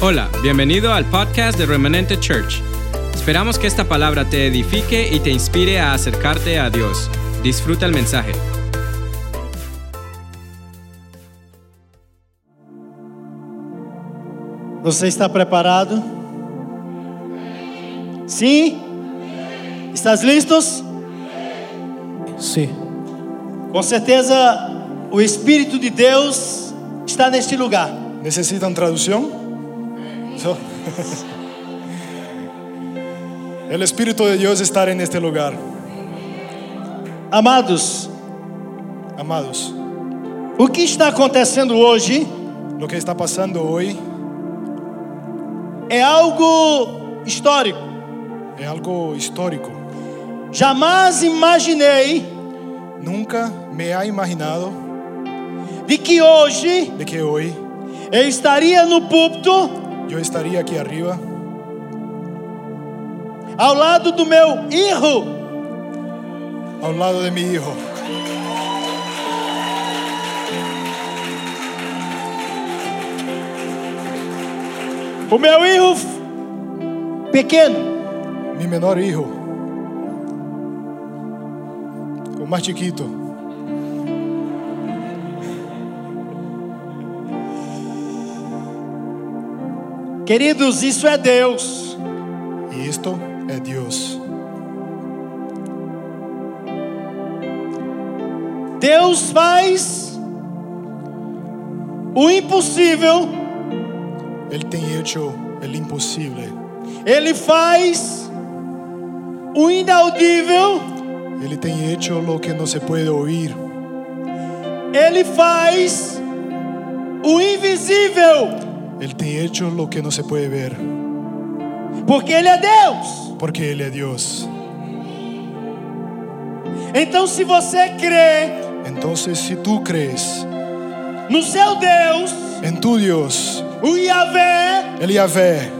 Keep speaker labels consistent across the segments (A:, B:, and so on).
A: Hola, bienvenido al podcast de Remanente Church. Esperamos que esta palabra te edifique y te inspire a acercarte a Dios. Disfruta el mensaje.
B: Você está preparado? Sim? Estás listos?
C: Sí,
B: Com certeza o Espírito de Deus está neste lugar.
C: ¿Necesitan traducción? So- El Espíritu de Dios estar en este lugar,
B: Amados,
C: amados.
B: o que está acontecendo hoje
C: Lo que está pasando hoy
B: é algo histórico.
C: es algo histórico.
B: Jamais imaginei
C: Nunca me ha imaginado
B: de que hoje
C: de que hoy
B: eu estaria no púlpito
C: yo estaría aquí arriba,
B: ao lado do meu irmão,
C: a un lado de mi hijo,
B: o meu irmão f- pequeno,
C: mi menor hijo, o más chiquito.
B: Queridos, isso é Deus.
C: Y esto es Dios.
B: Deus faz o impossível,
C: Él te ha hecho el imposible.
B: ele faz o inaudível,
C: Él te ha hecho lo que no se puede oír.
B: ele faz o invisível,
C: Él te ha hecho lo que no se puede ver,
B: porque ele é Deus.
C: porque Él es Dios.
B: Então, se você crê
C: Entonces, si tú crees
B: no seu Deus,
C: en tu Dios,
B: o Yahvé,
C: el Yahvé,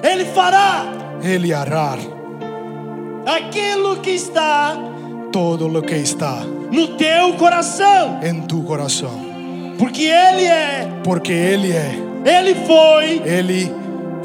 B: ele fará
C: Él hará
B: aquilo que está
C: todo lo que está
B: no teu coração,
C: en tu corazón,
B: porque ele é,
C: porque Él es,
B: ele foi
C: Él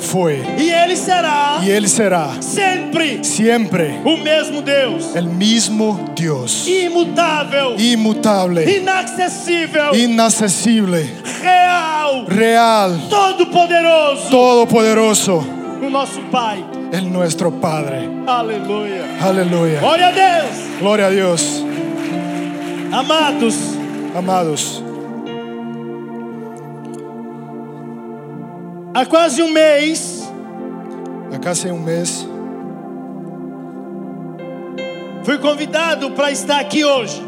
C: fue
B: e ele será
C: y Él será
B: sempre.
C: siempre
B: O mesmo Deus,
C: el mismo Dios,
B: imutável,
C: inmutable,
B: inacessível,
C: inaccesible,
B: real,
C: real,
B: todo-poderoso,
C: todopoderoso,
B: o nosso Pai.
C: el nuestro Padre.
B: Aleluia.
C: Aleluya.
B: Glória a Deus.
C: Gloria a Dios,
B: Amados,
C: amados.
B: há quase um mês
C: Acá hace un mes
B: fui convidado para estar aqui hoje.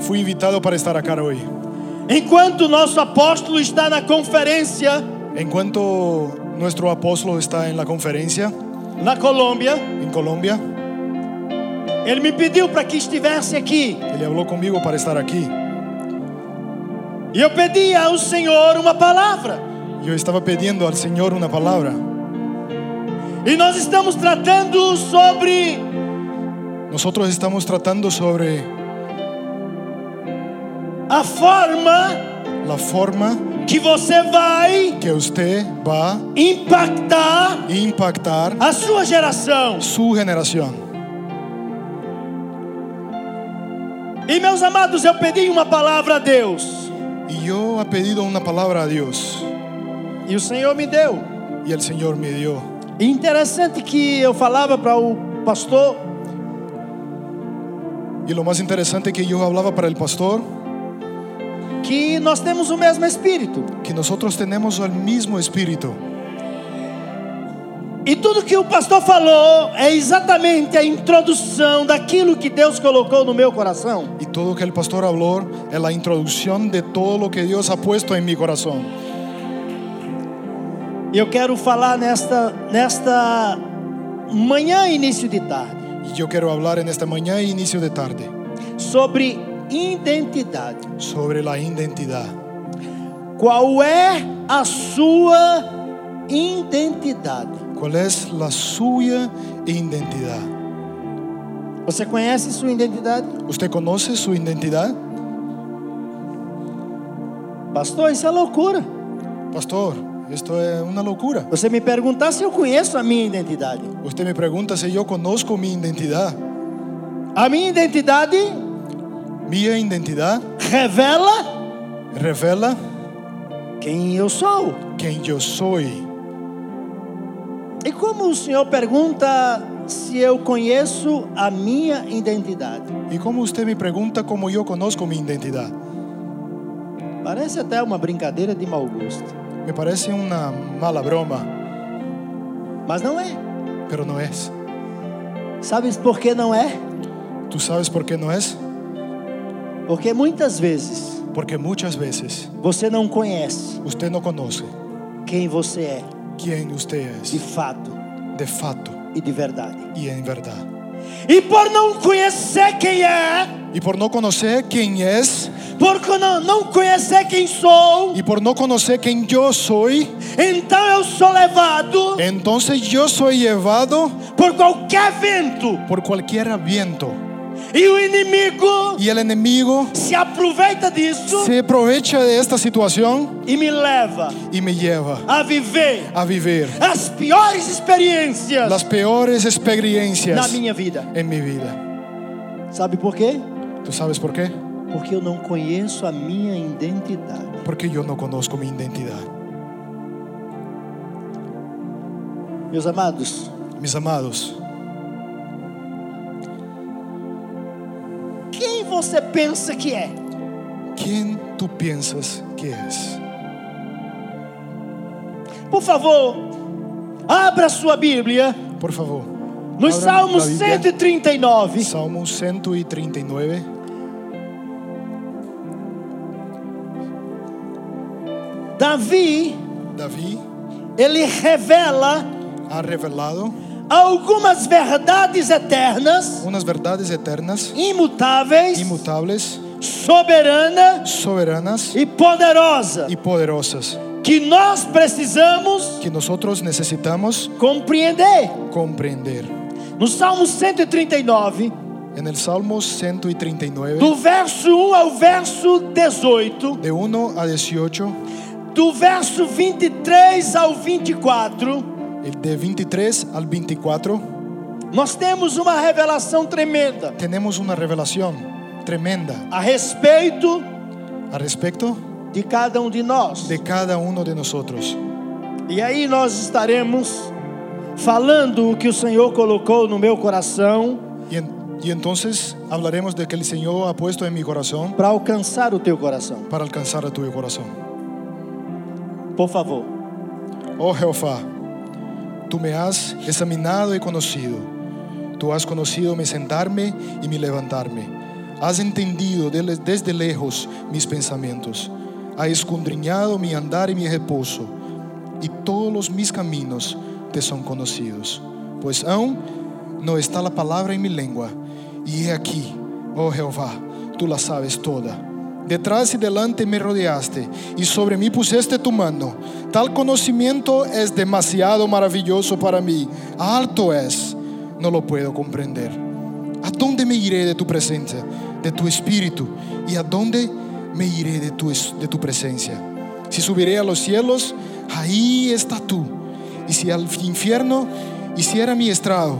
C: fui invitado para estar acá hoy.
B: Enquanto o nosso apóstolo está na conferência
C: En cuanto nuestro apóstol está en la conferencia
B: na Colômbia,
C: en Colombia,
B: ele me pediu para que estivesse aqui.
C: él habló conmigo para estar aquí.
B: E eu pedi ao Senhor uma palavra.
C: Yo estaba pidiendo al Señor una palabra.
B: E nós estamos tratando sobre
C: Nosotros estamos tratando sobre
B: a forma
C: la forma
B: que você vai
C: que usted va a
B: impactar
C: impactar
B: a sua geração.
C: su generación.
B: E meus amados, eu pedi uma palavra a Deus
C: Y yo he pedido una palabra a Dios
B: e o Senhor me deu.
C: y el Señor me dio.
B: E interessante que eu falava para o pastor
C: Y lo más interesante que yo hablaba para el pastor,
B: que nós temos o mesmo espírito.
C: que nosotros tenemos el mismo espíritu.
B: E tudo que o pastor falou é exatamente a introdução daquilo que Deus colocou no meu coração.
C: Y todo que el pastor habló es la introducción de todo lo que Dios ha puesto en mi corazón.
B: E eu quero falar nesta nesta manhã início de tarde
C: Y yo quiero hablar en esta mañana e inicio de tarde
B: sobre identidade.
C: sobre la identidad.
B: Qual é a sua identidade?
C: ¿Cuál es la suya identidad?
B: Você conhece sua identidade?
C: ¿Usted conoce su identidad?
B: Pastor, isso é loucura.
C: Pastor, Esto es una locura.
B: Você me perguntar se eu conheço a minha identidade.
C: Usted me pregunta si yo conozco mi identidad.
B: A minha identidade
C: Mi identidad
B: revela
C: revela
B: quem eu sou.
C: quién yo soy.
B: E como o Senhor pergunta se eu conheço a minha identidade?
C: Y como usted me pregunta cómo yo conozco mi identidad,
B: Parece até uma brincadeira de mau gosto,
C: me parece una mala broma,
B: mas não é.
C: pero no es.
B: Sabes por que não é?
C: ¿Tú sabes por qué no es?
B: Porque muitas vezes
C: Porque muchas veces
B: você não conhece
C: usted no conoce
B: quem você é
C: quién usted
B: de
C: es
B: fato
C: de facto
B: e de verdade.
C: y en verdad.
B: E por não conhecer quem é,
C: Y por no conocer quién es
B: por não, não conhecer quem sou,
C: y por no conocer quién yo soy,
B: então eu sou levado
C: entonces yo soy llevado
B: por qualquer vento.
C: por cualquier viento.
B: E o inimigo
C: Y el enemigo
B: se aproveita disso
C: se aprovecha de esta situación
B: e me leva
C: y me lleva
B: a viver
C: a vivir
B: as piores experiências
C: las peores
B: na
C: experiencias
B: minha vida.
C: en mi vida.
B: Sabe por quê?
C: ¿Tú sabes por qué?
B: Porque eu não conheço a minha identidade.
C: Porque yo no conozco mi identidad.
B: Meus amados,
C: Mis amados,
B: quem você pensa que é?
C: ¿quién tú piensas que es?
B: Por favor, abra sua Bíblia
C: Por favor.
B: no
C: abran
B: Salmo
C: la Biblia.
B: 139.
C: Salmo 139.
B: Davi,
C: David
B: ele revela
C: ha revelado
B: algumas verdades eternas,
C: unas verdades eternas,
B: imutáveis,
C: inmutables,
B: soberanas
C: soberanas
B: e poderosas,
C: y poderosas
B: que nós precisamos
C: que nosotros necesitamos
B: compreender.
C: comprender.
B: No Salmo 139,
C: En el Salmo 139,
B: do verso 1 ao verso 18,
C: de 1 a 18,
B: do verso 23 ao 24,
C: el de 23 al 24,
B: nós temos uma revelação tremenda
C: tenemos una revelación tremenda
B: a respeito
C: al respecto
B: de cada um de nós.
C: de cada uno de nosotros.
B: E aí nós estaremos falando o que o Senhor colocou no meu coração
C: Y, en- y entonces hablaremos de que el Señor ha puesto en mi corazón
B: para alcançar o teu coração.
C: para alcanzar a tu corazón.
B: Por favor,
C: Oh Jehová, tú me has examinado y conocido. Tú has conocido mi sentarme y mi levantarme. Has entendido dele- desde lejos mis pensamientos. Has escudriñado mi andar y mi reposo. Y todos los mis caminos te son conocidos. Pues aún no está la palabra en mi lengua. Y he aquí, oh Jehová, tú la sabes toda. Detrás y delante me rodeaste y sobre mí pusiste tu mano. Tal conocimiento es demasiado maravilloso para mí. Alto es, no lo puedo comprender. ¿A dónde me iré de tu presencia, de tu espíritu? ¿Y a dónde me iré de tu, es- de tu presencia? Si subiré a los cielos, ahí está tú. Y si al infierno hiciera mi estrado,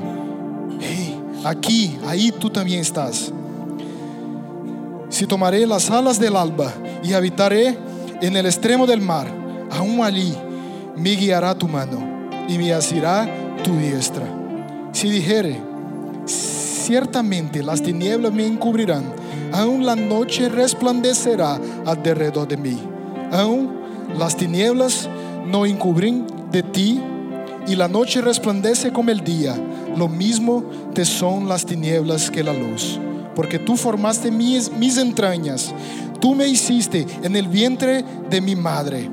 C: hey, aquí, ahí tú también estás. Si tomaré las alas del alba y habitaré en el extremo del mar, aún allí me guiará tu mano y me asirá tu diestra. Si dijere, Ciertamente las tinieblas me encubrirán, aún la noche resplandecerá alrededor de mí. Aún las tinieblas no encubren de ti, y la noche resplandece como el día. Lo mismo te son las tinieblas que la luz, porque tú formaste mis, mis entrañas, tú me hiciste en el vientre de mi madre.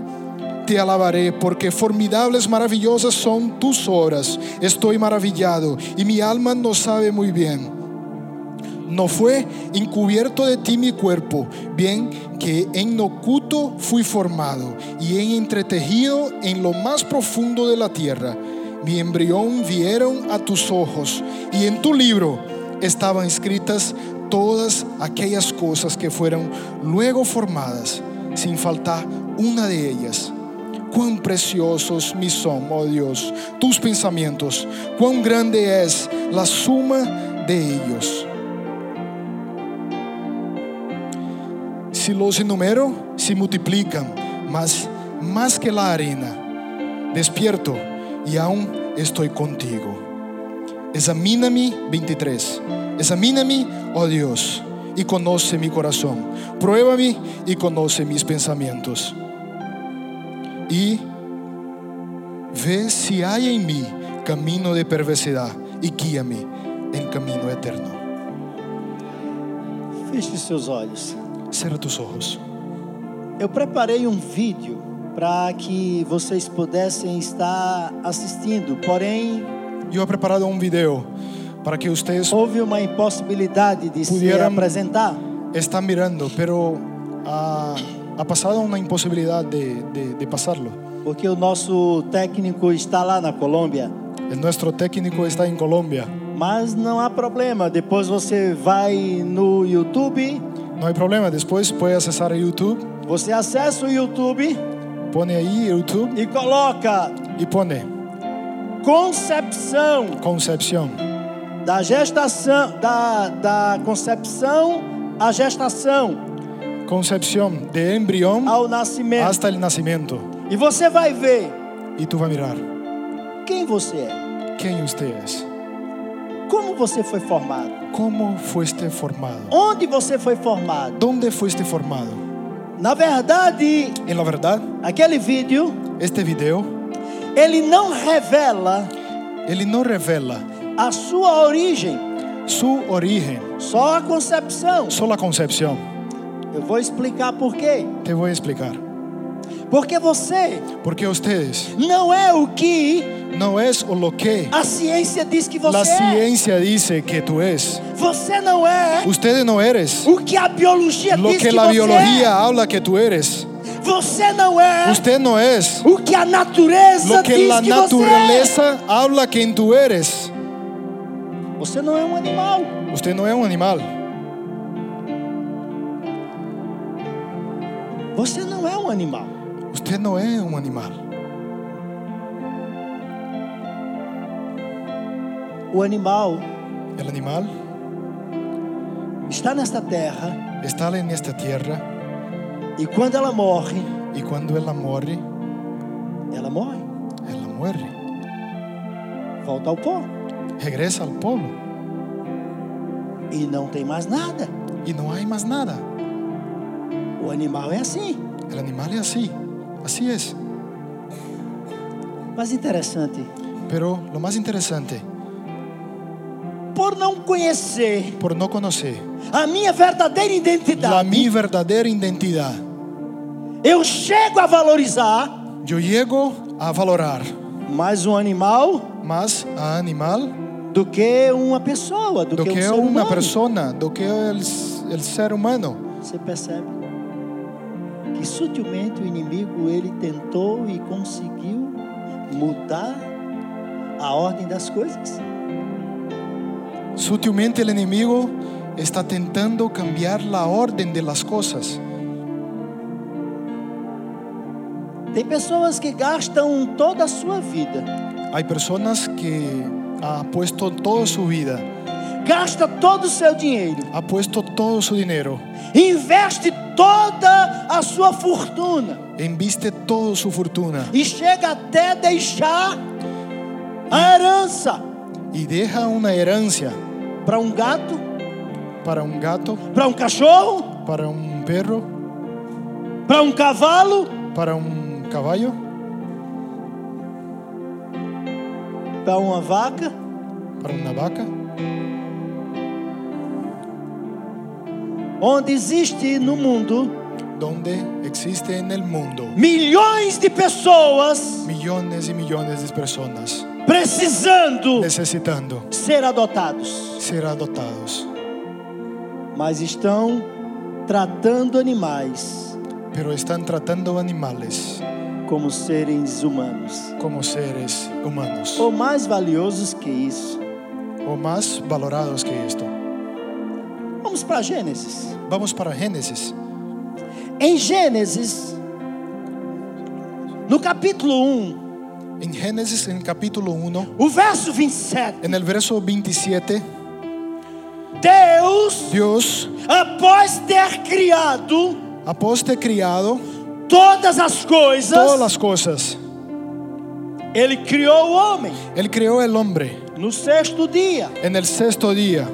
C: Te alabaré porque formidables, maravillosas son tus obras. Estoy maravillado y mi alma no sabe muy bien. No fue encubierto de ti mi cuerpo, bien que en lo oculto fui formado y en entretejido en lo más profundo de la tierra. Mi embrión vieron a tus ojos y en tu libro estaban escritas todas aquellas cosas que fueron luego formadas, sin faltar una de ellas. cuán preciosos mis son, oh Dios, tus pensamientos, cuán grande es la suma de ellos. Si los enumero, se multiplican, mas más que la arena, despierto y aún estoy contigo. Examíname, 23. Examíname, oh Dios, y conoce mi corazón. Pruébame y conoce mis pensamientos. Y ve si hay en mí camino de perversidad y guíame en camino eterno.
B: Feche seus olhos.
C: Cierra tus ojos.
B: Eu preparei um vídeo para que vocês pudessem estar assistindo, porém
C: Yo he preparado un video para que ustedes
B: houve uma impossibilidade de se
C: Pudiera-
B: apresentar.
C: están mirando, pero ah, ha pasado una imposibilidad de, de- de pasarlo.
B: Porque o nosso técnico está lá na Colômbia.
C: El nuestro técnico está en Colombia.
B: Mas não há problema, depois você vai no YouTube,
C: No hay problema, después puede accesar a YouTube,
B: você acessa o YouTube
C: pone ahí YouTube
B: e coloca
C: y pone
B: concepção
C: Concepción,
B: da gestação, da, da concepção à gestação,
C: Concepción de embrión
B: ao nascimento.
C: hasta el nacimiento.
B: E você vai ver
C: Y tú vas a mirar
B: quem você é,
C: quién usted es,
B: como você foi formado,
C: cómo fuiste formado,
B: onde você foi formado.
C: dónde fuiste formado.
B: Na verdade,
C: En la verdad,
B: aquele vídeo,
C: este video,
B: ele não revela
C: él no revela
B: a sua origem,
C: su origen,
B: só a concepção.
C: solo la concepción.
B: Eu vou explicar por quê.
C: Te voy a explicar.
B: Porque você
C: Porque ustedes
B: não é o que
C: no es o lo que
B: a ciência diz que
C: la
B: você é.
C: ciencia dice que tú es.
B: Você não é
C: Ustedes no eres
B: o que a biologia
C: lo
B: diz que,
C: que la
B: você
C: biología habla que tú eres.
B: é. Você não é
C: Usted no es
B: o que a natureza
C: lo que
B: diz
C: la
B: que você é.
C: naturaleza habla que tú eres.
B: Você não é um animal.
C: Usted no es un animal.
B: Você não é um animal.
C: Usted no es un animal.
B: O animal
C: El animal
B: está nesta terra
C: está en esta tierra
B: e quando ela morre,
C: y cuando ella muere,
B: ela morre.
C: ella muere.
B: Volta ao pó.
C: Regresa al pueblo
B: E não tem mais nada.
C: y no hay más nada.
B: O animal é assim.
C: El animal es así. Así es.
B: Mas interessante,
C: Pero lo más interesante,
B: por não conhecer
C: por no conocer
B: a minha verdadeira identidade,
C: la mi verdadera identidad,
B: eu chego a valorizar
C: yo llego a valorar
B: mais um animal
C: más a animal
B: do que uma pessoa, do,
C: do
B: que, um
C: que
B: ser
C: una
B: humano.
C: persona, do que el, el ser humano.
B: Você percebe que sutilmente o inimigo ele tentou e conseguiu mudar a ordem das coisas.
C: Sutilmente el enemigo está tentando cambiar la orden de las cosas.
B: Tem pessoas que gastam toda a sua vida,
C: Hay personas que ha puesto toda su vida,
B: gasta todo o seu dinheiro,
C: ha puesto todo su dinero,
B: investe toda a sua fortuna.
C: inviste toda su fortuna
B: e chega até deixar a herança
C: y deja una herencia
B: para um gato,
C: para un gato,
B: para um cachorro,
C: para un perro,
B: para um cavalo,
C: para un caballo,
B: para uma vaca.
C: para una vaca.
B: Onde existe no mundo
C: donde existe en el mundo
B: milhões de pessoas
C: millones y millones de personas
B: precisando
C: necesitando
B: ser adotados,
C: ser adoptados,
B: mas estão tratando animais
C: pero están tratando animales
B: como seres humanos.
C: como seres humanos
B: Ou mais valiosos que isso.
C: o más valorados que esto.
B: Vamos para Gênesis.
C: Vamos para Génesis.
B: Em Gênesis, No capítulo 1,
C: En Génesis, en capítulo 1,
B: o verso 27,
C: en el verso 27,
B: Deus,
C: Dios,
B: após ter criado
C: após de criado
B: todas as coisas,
C: todas las cosas,
B: ele criou o homem
C: Él creó el hombre
B: no sexto dia.
C: en el sexto día.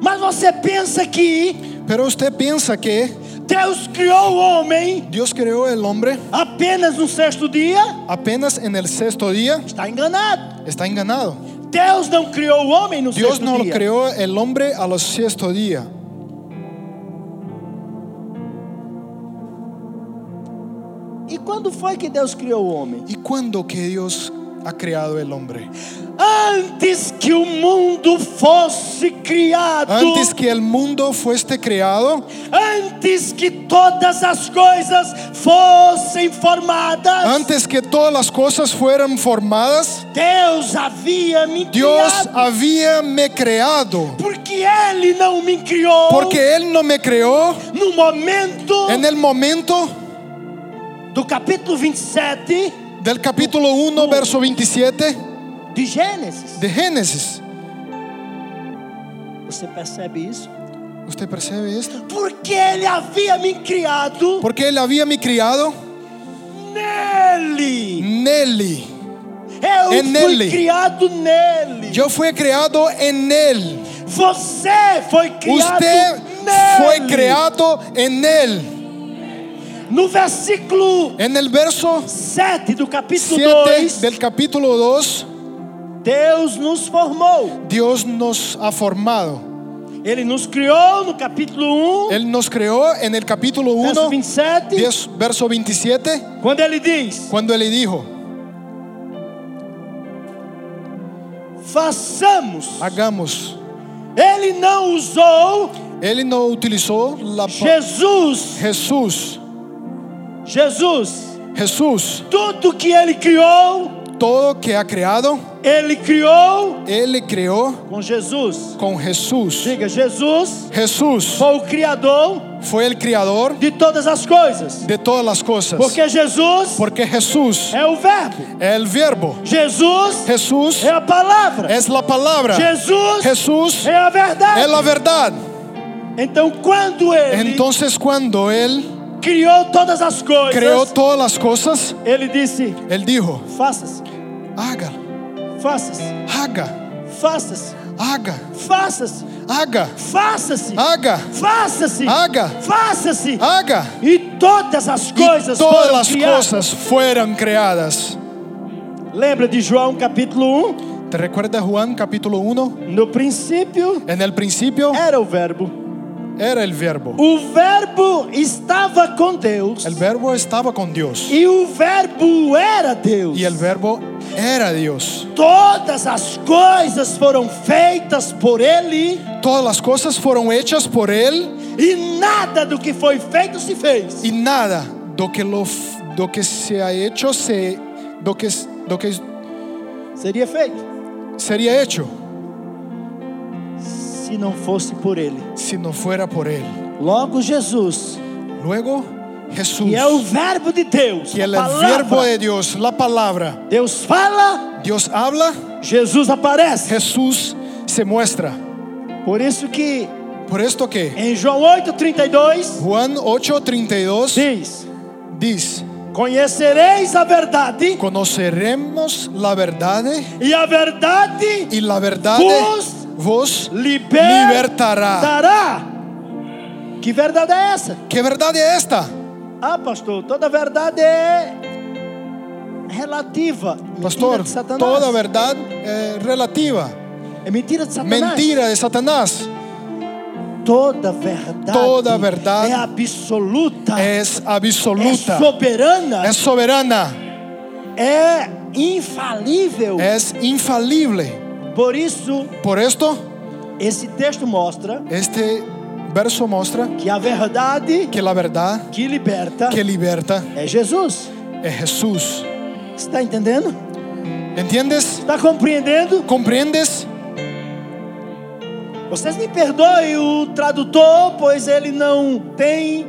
B: Mas você pensa que
C: Pero usted piensa que
B: Deus criou o homem
C: Dios creó el hombre
B: apenas no sexto dia?
C: apenas en el sexto día,
B: Está enganado.
C: está enganado.
B: Deus não criou o homem no
C: Dios
B: sexto
C: no
B: dia.
C: creó el hombre a los sexto día.
B: E quando foi que Deus criou o homem?
C: ¿Y cuándo que Dios ha creado el hombre?
B: Antes que o mundo fosse criado,
C: Antes que el mundo fuese creado,
B: antes que todas as coisas fossem formadas,
C: antes que todas las cosas fueran formadas,
B: Deus havia me
C: Dios
B: criado.
C: había me creado.
B: Porque Ele não me criou
C: Porque É Él no me creó
B: no momento
C: en el momento
B: do capítulo 27
C: del capítulo 1, verso 27
B: de Gênesis.
C: de Génesis.
B: Você percebe isso?
C: ¿Usted percibe esto?
B: Porque Ele havia me criado
C: Porque Él había me criado
B: nele.
C: Nelly.
B: Eu fui
C: É nele.
B: criado nele.
C: Yo fui creado en Él.
B: Você foi criado
C: Usted fue
B: nele.
C: creado en Él.
B: No versículo
C: En el verso
B: 7 do capítulo
C: 7
B: 2,
C: del capítulo 2,
B: Deus nos formou.
C: Dios nos ha formado.
B: Ele nos criou no capítulo 1,
C: Él nos creó en el capítulo 1,
B: verso 27,
C: 10, verso 27,
B: quando ele diz:
C: cuando Él le dijo,
B: "Façamos".
C: hagamos.
B: Ele não usou
C: Él no utilizó la palabra
B: Jesus.
C: Jesús.
B: Jesus,
C: Jesús,
B: tudo que ele criou,
C: todo que ha creado,
B: ele criou
C: Él le creó
B: com Jesus.
C: con Jesús.
B: Diga, Jesus
C: Jesús
B: foi o criador
C: fue el creador
B: de todas as coisas.
C: de todas las cosas.
B: Porque Jesus
C: Porque Jesús
B: é o verbo.
C: es el verbo.
B: Jesus
C: Jesús
B: é a palavra.
C: es la palabra.
B: Jesus
C: Jesús
B: é a
C: es
B: verdade.
C: la verdad.
B: Então, quando ele
C: Entonces cuando Él
B: criou todas as
C: creó
B: coisas,
C: todas las cosas,
B: ele disse:
C: Él dijo,
B: faça-se,
C: haga,
B: faça-se,
C: haga,
B: faça-se,
C: haga,
B: faça-se,
C: haga,
B: faça-se,
C: haga,
B: faça-se,
C: Haga.
B: faça-se.
C: haga.
B: ah, E todas as
C: Y
B: coisas
C: todas
B: foram
C: las
B: criadas.
C: cosas fueron creadas.
B: Lembra de João capítulo
C: ¿Te recuerdas Juan capítulo 1?
B: 1? No princípio
C: En el principio
B: era o verbo.
C: era el verbo.
B: O verbo estava com Deus.
C: El verbo estaba con Dios.
B: E o verbo era Deus.
C: Y el verbo era Dios.
B: Todas as coisas foram feitas por ele
C: Todas las cosas fueron hechas por Él
B: e nada do que foi feito se fez.
C: y nada do que, lo, f- do que se ha hecho se, do que, s- do que
B: Seria feito
C: sería hecho
B: se não fosse por ele.
C: si no fuera por Él.
B: Logo Jesus,
C: Luego Jesús,
B: que é o verbo de Deus,
C: que
B: a
C: el
B: palavra.
C: verbo é- de Dios, la palabra,
B: Deus fala,
C: Dios habla,
B: Jesus aparece.
C: Jesús se muestra.
B: Por isso que
C: Por esto que
B: em João 8:32
C: Juan 8:32
B: diz:
C: dice,
B: Conhecereis a verdade,
C: conoceremos la verdad
B: e a verdade
C: y la verdad
B: Vos
C: vos
B: libertará. Que verdade é essa?
C: ¿Qué verdad es esta?
B: Ah, pastor, toda verdade é relativa. Mentira
C: Pastor,
B: de Satanás.
C: toda verdad eh, relativa.
B: É mentira de Satanás.
C: Mentira de Satanás
B: Toda verdade.
C: Toda verdade
B: é absoluta.
C: es
B: é
C: absoluta,
B: soberana.
C: es soberana,
B: É infalível.
C: es infalible.
B: Por isso,
C: Por esto,
B: esse texto mostra
C: este verso muestra
B: que a verdade
C: que la verdad
B: que liberta
C: que liberta
B: é Jesus.
C: es Jesús.
B: Está entendendo?
C: ¿Entiendes?
B: Está compreendendo?
C: ¿Comprendes?
B: Vocês me perdoem o tradutor, pois ele não tem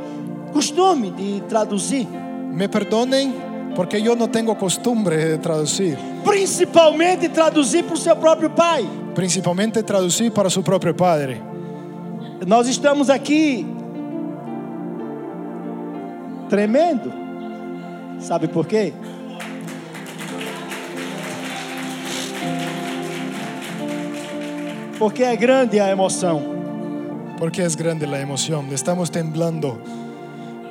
B: costume de traduzir.
C: Me perdonen porque yo no tengo costumbre de traducir.
B: Principalmente traduzir para o seu próprio pai.
C: Principalmente traducir para su propio padre.
B: Nós estamos aqui tremendo. Sabe por quê? Porque é grande a emoção.
C: Porque es grande la emoción. Estamos temblando.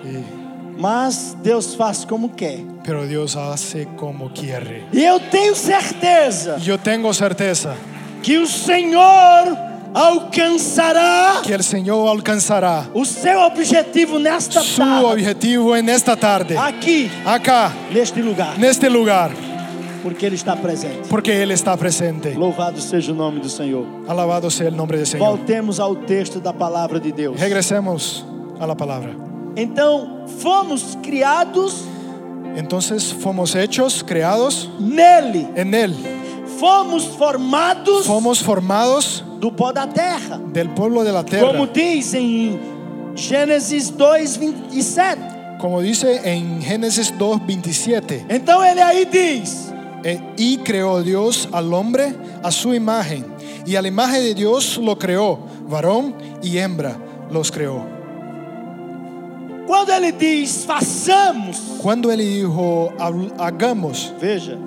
C: Y-
B: Mas Deus faz como quer.
C: pero Dios hace como quiere.
B: E eu tenho certeza
C: Yo tengo certeza
B: que o Senhor alcançará
C: que el Señor alcanzará
B: o seu objetivo nesta
C: su
B: tarde,
C: objetivo en esta tarde.
B: aqui,
C: Acá,
B: neste lugar,
C: en este lugar.
B: porque Ele está presente.
C: Porque Él está presente.
B: Louvado seja o nome do Senhor.
C: Alabado sea el nombre del Señor.
B: Voltemos ao texto da palavra de Deus.
C: Regresemos a la palabra.
B: Então, fomos criados
C: Entonces fuimos hechos, creados
B: nele,
C: en Él.
B: fomos formados
C: Fomos formados
B: do pó da terra,
C: del pueblo de la
B: como
C: tierra.
B: diz em Gênesis 2, 27.
C: Como dice en Génesis 2:27.
B: Então ele aí diz:
C: E- Y creó Dios al hombre a su imagen. Y a la imagen de Dios lo creó. Varón y hembra los creó.
B: quando ele diz façamos,
C: Cuando Él dijo, "Hab- hagamos,
B: veja,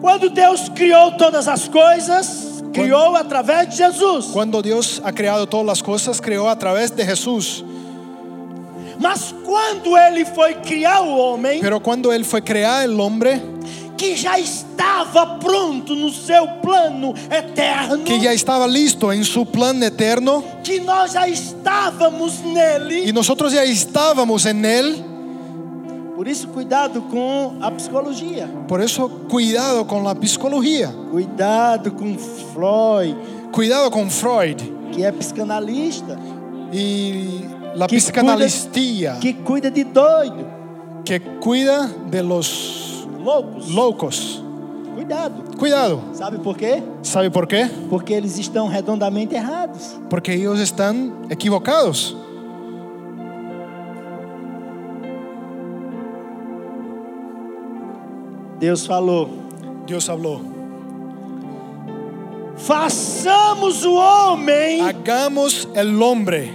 B: quando Deus criou todas as coisas, criou através de Jesus.
C: cuando Dios ha creado todas las cosas, creó a través de Jesús.
B: Mas quando ele foi criar o homem,
C: Pero cuando Él fue creado el hombre,
B: que já estava pronto no seu plano eterno,
C: que ya estaba listo en su plan eterno,
B: que nós já estávamos nele.
C: y nosotros ya estábamos en Él,
B: Por isso, cuidado com a psicologia.
C: por eso cuidado con la psicología,
B: Cuidado com Freud,
C: cuidado con Freud
B: que é psicanalista,
C: y la
B: Que
C: psicanalistía
B: que cuida de doido,
C: que cuida de los
B: loucos.
C: locos.
B: Cuidado.
C: Cuidado,
B: Sabe por qué?
C: ¿sabe por qué?
B: Porque eles estão redondamente errados.
C: Porque ellos están equivocados.
B: Deus falou:
C: Dios habló,
B: façamos o homem
C: hagamos el hombre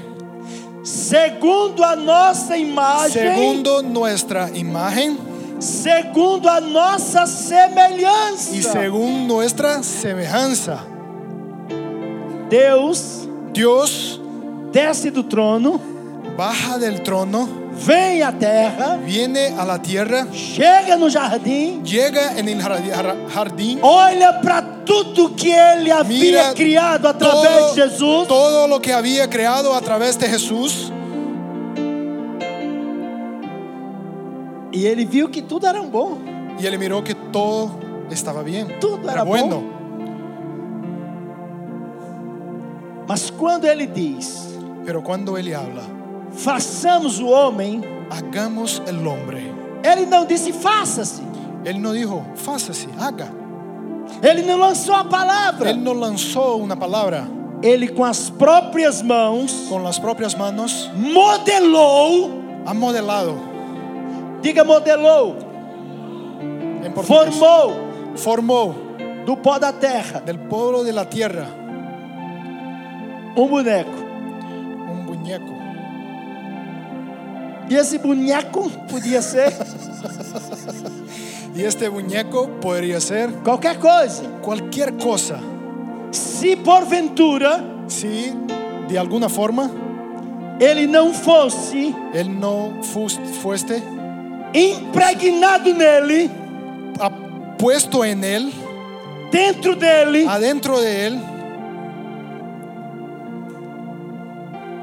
B: segundo a nossa imagem,
C: segundo nuestra imagen
B: segundo a nossa semelhança.
C: y según nuestra semejanza.
B: Deus
C: Dios
B: desce do trono,
C: baja del trono,
B: vem à terra,
C: viene a la tierra,
B: chega no jardim,
C: llega en el jardi- jar- jardín,
B: olha para tudo que ele havia
C: Mira
B: criado através
C: todo,
B: de Jesus
C: todo lo que había creado a través de Jesús
B: e ele viu que tudo era bom.
C: y él miró que todo estaba bien,
B: Todo era
C: bueno.
B: Mas quando ele diz:
C: Pero cuando él habla,
B: façamos o homem,
C: hagamos el hombre,
B: ele não disse faça-se.
C: él no dijo, fácese, haga.
B: Ele não lançou a palavra.
C: Él no lanzó una palabra
B: Ele com as próprias mãos
C: con las propias manos,
B: modelou,
C: ha modelado
B: diga modelou,
C: en portugués.
B: formou
C: formó
B: do pó da terra
C: del pueblo de la tierra
B: um boneco.
C: un muñeco.
B: E esse boneco podia ser
C: Y este muñeco podría ser
B: qualquer coisa.
C: cualquier cosa.
B: Se porventura
C: Si de alguna forma
B: ele não fosse
C: él no fus- fuese
B: impregnado nele,
C: a- puesto en él,
B: dentro dele,
C: adentro de él,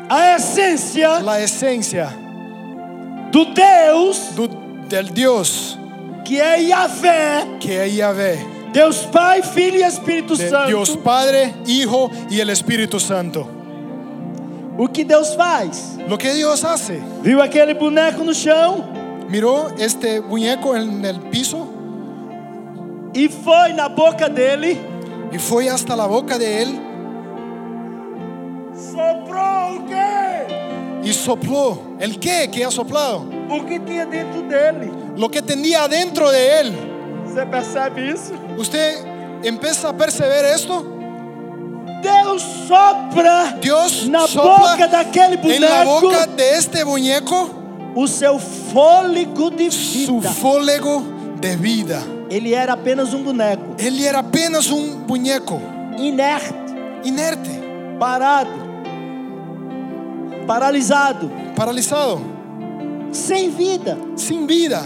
B: a essência
C: la esencia
B: do Deus
C: du- del Dios
B: que é Yahvé,
C: que es Yahvé,
B: Deus Pai, Filho e Espírito
C: de
B: Santo.
C: Dios Padre, Hijo y el Espíritu Santo.
B: O que Deus faz?
C: Lo que Dios hace,
B: Viu aquele boneco no chão?
C: miró este muñeco en el piso
B: e foi na boca dele,
C: y fue hasta la boca de él
B: soprou o quê?
C: y sopló. ¿El quê? ¿Qué ha soplado?
B: O que tinha dentro dele.
C: lo que tenía dentro de él.
B: Você percebe isso?
C: Usted empieza a percibir esto.
B: Deus sopra
C: Dios
B: na
C: sopla
B: boca daquele
C: en la
B: boneco
C: boca de este muñeco
B: o seu fôlego de
C: su
B: vida.
C: fólego de vida.
B: Ele era apenas um boneco,
C: Él era apenas un muñeco
B: inerte,
C: inerte,
B: parado, paralisado,
C: paralizado,
B: sem vida,
C: sin vida.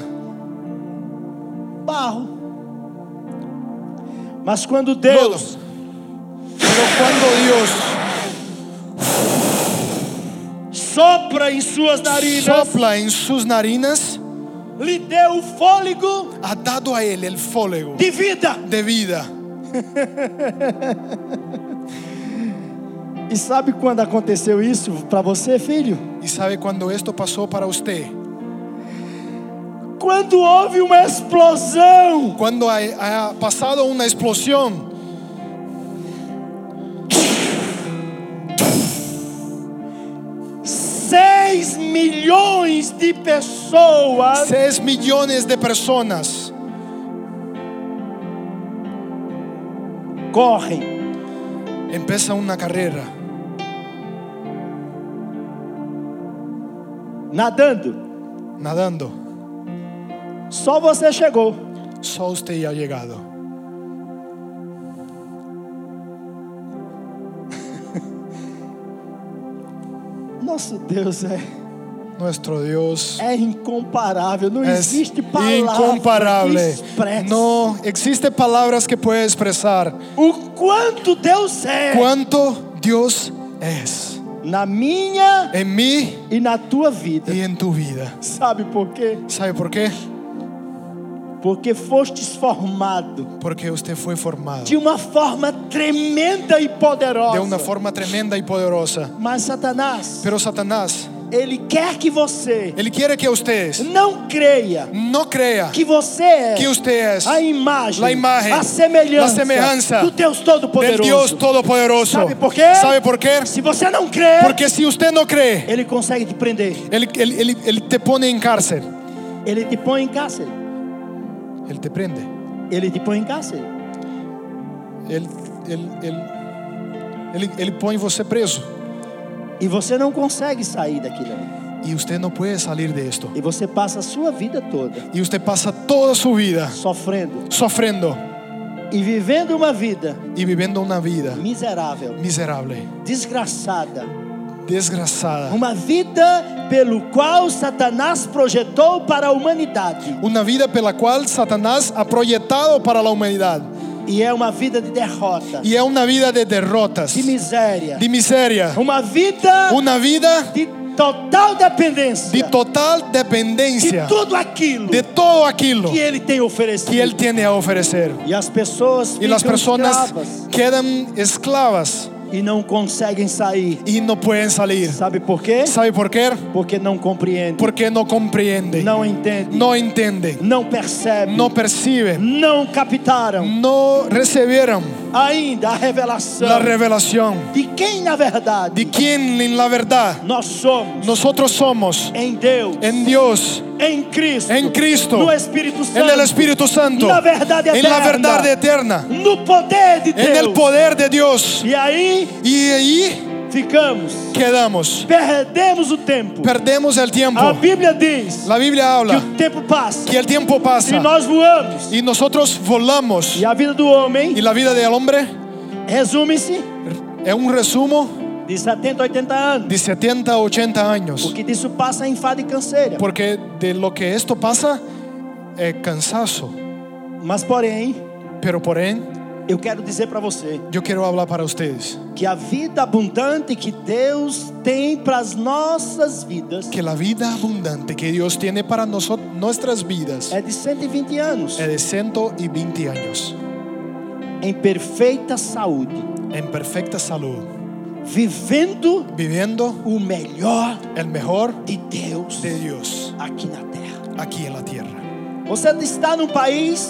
B: barro. Mas quando Deus,
C: Lodo. Pero cuando Dios
B: sopra em suas narinas,
C: sopla en sus narinas,
B: lhe deu o fôlego
C: ha dado a él el fólego
B: de vida.
C: de vida.
B: E sabe quando aconteceu isso para você, filho?
C: ¿Y sabe cuando esto pasó para usted?
B: Quando houve uma explosão
C: Cuando ha, ha pasado una explosión
B: Seis milhões de pessoas
C: 6 millones de personas
B: correm.
C: empieza una carrera
B: Nadando.
C: nadando.
B: Só você chegou.
C: Solo usted ya ha llegado.
B: Nosso Deus é,
C: Nuestro Dios
B: é incomparável. Não
C: es
B: existe palavra que é.
C: incomparable.
B: expresse
C: No existe palabras que pueda expresar
B: o quanto Deus é
C: cuánto Dios es
B: na minha
C: en mí
B: e na tua vida.
C: y en tu vida.
B: Sabe por quê?
C: ¿Sabe por qué?
B: Porque fostes formado
C: Porque usted fue formado
B: de uma forma tremenda e poderosa.
C: de una forma tremenda y poderosa.
B: Mas Satanás,
C: Pero Satanás,
B: ele quer que você
C: él quiere que ustedes
B: não creia
C: no crea
B: que você é
C: que usted es
B: a imagem,
C: La imagem,
B: a semelhança,
C: la semelhanza
B: do Deus
C: del
B: Todo-Poderoso.
C: Dios Todopoderoso.
B: ¿Sabe por qué?
C: ¿Sabe por qué?
B: Se você não crê,
C: Porque si usted no cree,
B: ele consegue te prender,
C: él, él- él- él te pone en cárcel.
B: ele te põe em cárcere,
C: Él te prende.
B: ele te põe em cárcere.
C: Él, él, él, él, él pone você preso.
B: E você não consegue sair daquilo ali.
C: Y usted no puede salir de esto.
B: E você passa a sua vida toda
C: Y usted pasa toda su vida
B: sofrendo
C: sufriendo
B: e vivendo uma vida
C: y viviendo una vida
B: miserável,
C: miserable,
B: desgraçada.
C: desgraciada.
B: Uma vida pelo qual Satanás projetou para a humanidade.
C: Una vida pela cual Satanás ha proyectado para la humanidad.
B: E é uma vida de derrota,
C: Y es una vida de derrotas,
B: de miséria.
C: de miseria.
B: Uma vida
C: Una vida
B: de total dependência
C: de total dependencia
B: de tudo aquilo
C: de todo aquilo
B: que ele tem oferecido.
C: que Él tiene a ofrecer.
B: E as pessoas
C: Y
B: ficam
C: las personas
B: escravas
C: quedan esclavas
B: e não conseguem sair.
C: y no pueden salir.
B: Sabe por quê?
C: ¿Sabe por qué?
B: Porque não compreende,
C: Porque no comprende,
B: não entende,
C: no entiende,
B: não Hum. percebe,
C: no percibe,
B: não captaram
C: no recibieron
B: ainda a revelação
C: la revelación
B: de quem na verdade
C: de quién en la verdad
B: nós somos
C: nosotros somos
B: em Deus,
C: en Dios,
B: em Cristo,
C: en Cristo,
B: no Espírito Santo,
C: en el Espíritu Santo,
B: na verdade
C: en la
B: eterna,
C: verdad eterna,
B: no poder de
C: en el
B: Deus.
C: poder de Dios.
B: E aí
C: Y ahí
B: ficamos,
C: quedamos.
B: perdemos o tempo.
C: Perdemos el tiempo.
B: A Bíblia diz
C: La Biblia
B: que
C: habla
B: o tempo passa
C: que el tiempo
B: e
C: pasa
B: nós voamos.
C: y nosotros volamos.
B: E a vida do homem
C: Y la vida del hombre
B: resume-se
C: es un resumo
B: de 70 a 80 anos.
C: de 70 a 80 años.
B: Porque disso passa é enfado e canseira.
C: Porque de lo que esto pasa es cansazo.
B: Mas, porém,
C: Pero por él,
B: eu quero dizer para você
C: yo quiero hablar para ustedes
B: que a vida abundante que Deus tem para as nossas vidas
C: que la vida abundante que Dios tiene para nosotros, nuestras vidas
B: é de 120 anos,
C: es de 120 años
B: em perfeita saúde,
C: en perfecta salud,
B: vivendo
C: viviendo
B: o melhor
C: el mejor
B: de Deus
C: de Dios
B: aqui na terra.
C: aquí en la tierra.
B: Você está num país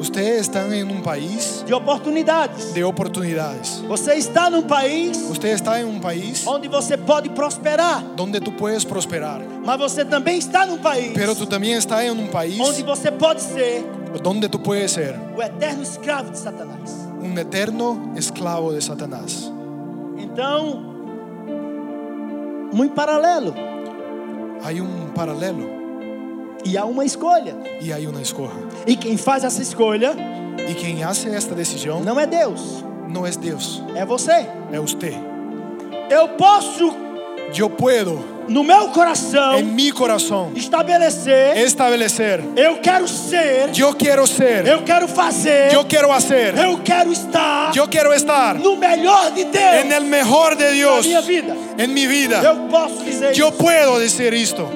C: Ustedes están en un país
B: de oportunidades.
C: de oportunidades.
B: Você está num país
C: Usted está en un país
B: onde você pode prosperar,
C: donde tú puedes prosperar,
B: mas você também está num país
C: pero tú también estás en un país
B: onde você pode ser
C: donde tú puedes ser
B: o eterno escravo de Satanás.
C: un eterno esclavo de Satanás.
B: Então, muito paralelo.
C: Hay un paralelo
B: E há uma escolha.
C: y hay una escoja.
B: E quem faz essa escolha
C: Y quien hace esta decisión no,
B: não é Deus,
C: es Dios,
B: é você.
C: es usted.
B: Eu posso,
C: Yo puedo
B: no meu coração,
C: en mi corazón
B: estabelecer:
C: establecer,
B: eu quero ser,
C: yo quiero ser,
B: eu quero fazer,
C: yo quiero hacer,
B: eu quero estar
C: yo quiero estar
B: no melhor de
C: en
B: Deus
C: el mejor de
B: na
C: Dios
B: minha vida.
C: en mi vida.
B: Eu posso dizer
C: Yo
B: isso.
C: puedo decir esto.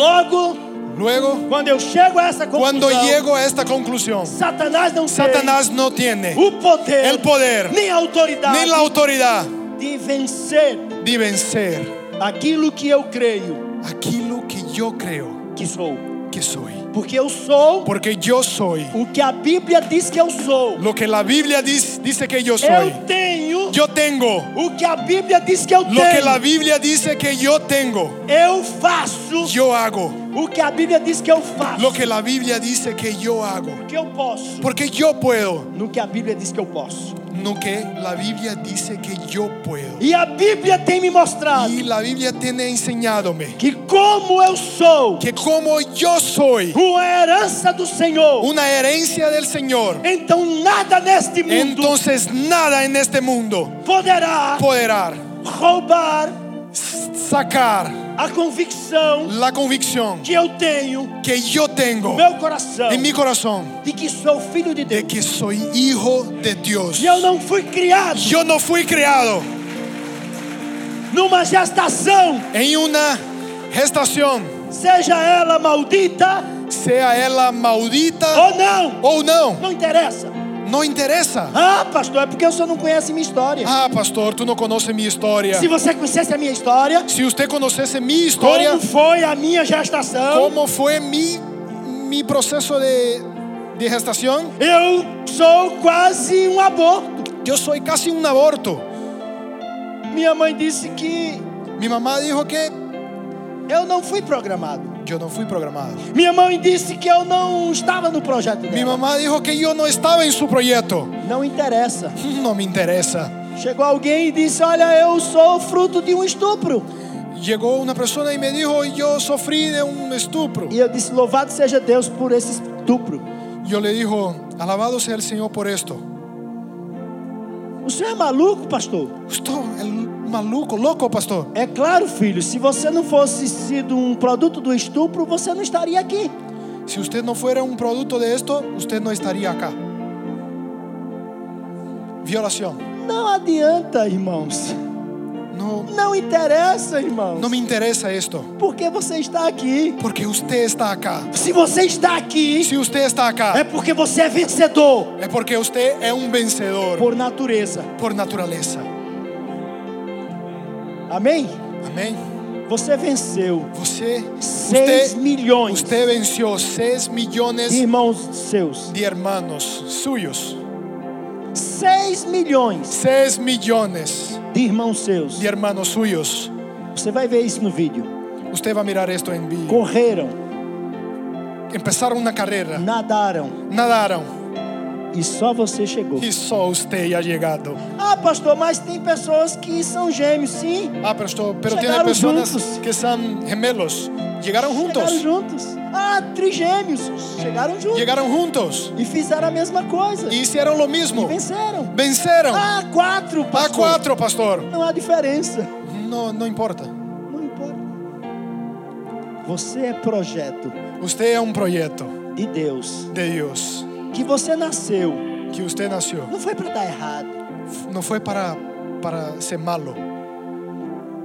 B: Logo,
C: Luego,
B: quando eu chego a essa
C: cuando
B: conclusão,
C: llego a esta conclusión,
B: Satanás não
C: Satanás no tiene
B: tem o poder,
C: el poder
B: nem a autoridade
C: ni la autoridad
B: de vencer
C: de vencer
B: aquilo que eu creio
C: aquilo que yo creo
B: que sou.
C: que soy.
B: Porque eu sou
C: Porque yo soy
B: o que a Bíblia diz que eu sou.
C: lo que la Biblia dice, dice que yo soy.
B: Eu tenho
C: Yo tengo
B: o que a Bíblia diz que eu
C: lo que la
B: tenho.
C: Biblia dice que yo tengo.
B: Eu faço
C: Yo hago
B: o que a Bíblia diz que eu faço.
C: lo que la Biblia dice que yo hago.
B: O que eu posso
C: Porque yo puedo
B: no que a Bíblia diz que eu posso.
C: lo que la Biblia dice que yo puedo.
B: E a Bíblia tem me mostrado
C: Y la Biblia tiene enseñadome
B: que como eu sou
C: que como yo soy
B: uma herança do Senhor,
C: una herencia del Señor,
B: então nada neste mundo
C: entonces nada en este mundo
B: poderá
C: podrá
B: roubar
C: sacar
B: a convicção
C: la convicción
B: que eu tenho
C: que yo tengo
B: no meu coração
C: en mi corazón
B: de que sou filho de Deus.
C: de que soy hijo de Dios.
B: E eu não fui criado
C: Yo no fui creado
B: numa gestação,
C: en una gestación,
B: seja ela maldita
C: sea ella maudita
B: ou não,
C: o no,
B: não interessa.
C: no interesa.
B: Ah, pastor, é porque o senhor não conhece minha história.
C: Ah, pastor, tú no conoces mi historia.
B: Se você conhecesse a minha história,
C: Si usted conociese mi historia,
B: como foi a minha gestação,
C: cómo fue mi, mi proceso de, de gestación,
B: eu sou quase um aborto.
C: yo soy casi un aborto.
B: Minha mãe disse que
C: Mi mamá dijo que
B: eu não fui programado.
C: yo no fui programado.
B: Minha mãe disse que eu não estava no projeto
C: Mi
B: dela.
C: mamá dijo que yo no estaba en su proyecto.
B: Não interessa.
C: No me interesa.
B: Chegou alguém e disse: Olha, eu sou fruto de um estupro.
C: Llegó una persona y me dijo, yo sufrí de un estupro.
B: E eu disse: Louvado seja Deus por esse estupro.
C: Yo le dijo, alabado sea el Señor por esto.
B: O senhor é maluco, pastor?
C: Usted es maluco, loco, pastor.
B: É claro, filho, se você não fosse sido um produto do estupro, você não estaria aqui.
C: Si usted no fuera un producto de esto, usted no estaría acá. Violación.
B: Não adianta, irmãos.
C: No,
B: Não interessa, irmãos.
C: no me interesa esto.
B: Porque você está aqui.
C: Porque usted está acá.
B: Se você está aqui,
C: Si usted está
B: é
C: acá,
B: porque você é vencedor
C: es porque usted es un vencedor
B: por natureza.
C: por naturaleza.
B: Amém?
C: Amén.
B: Você venceu
C: Você,
B: 6
C: usted,
B: milhões
C: usted venció 6
B: de
C: millones
B: irmãos seus.
C: de hermanos suyos.
B: 6 milhões
C: 6 millones
B: de irmãos seus.
C: de hermanos suyos.
B: Você vai ver isso no vídeo.
C: Usted va a mirar esto en vivo.
B: Correram,
C: Empezaron una carrera,
B: nadaram
C: nadaron
B: e só você chegou.
C: y solo usted ha llegado.
B: Ah, pastor, mas tem pessoas que são gêmeos, sim.
C: Ah, pero, esto- pero tiene
B: Llegaron
C: personas
B: juntos.
C: que son gemelos. Llegaron
B: Chegaram
C: juntos.
B: juntos. Ah, trigêmeos. Chegaram juntos.
C: Llegaron juntos.
B: E fizeram a mesma coisa.
C: Y hicieron lo
B: E
C: mismo.
B: venceram.
C: Vencieron.
B: Ah, quatro,
C: A
B: pastor.
C: cuatro, pastor.
B: Não há diferença.
C: No, no importa.
B: Não importa. Você é projeto
C: Usted es un proyecto
B: de Deus.
C: de Dios.
B: Que você nasceu.
C: Que usted nació.
B: Não foi para dar errado.
C: No fue para, para ser malo.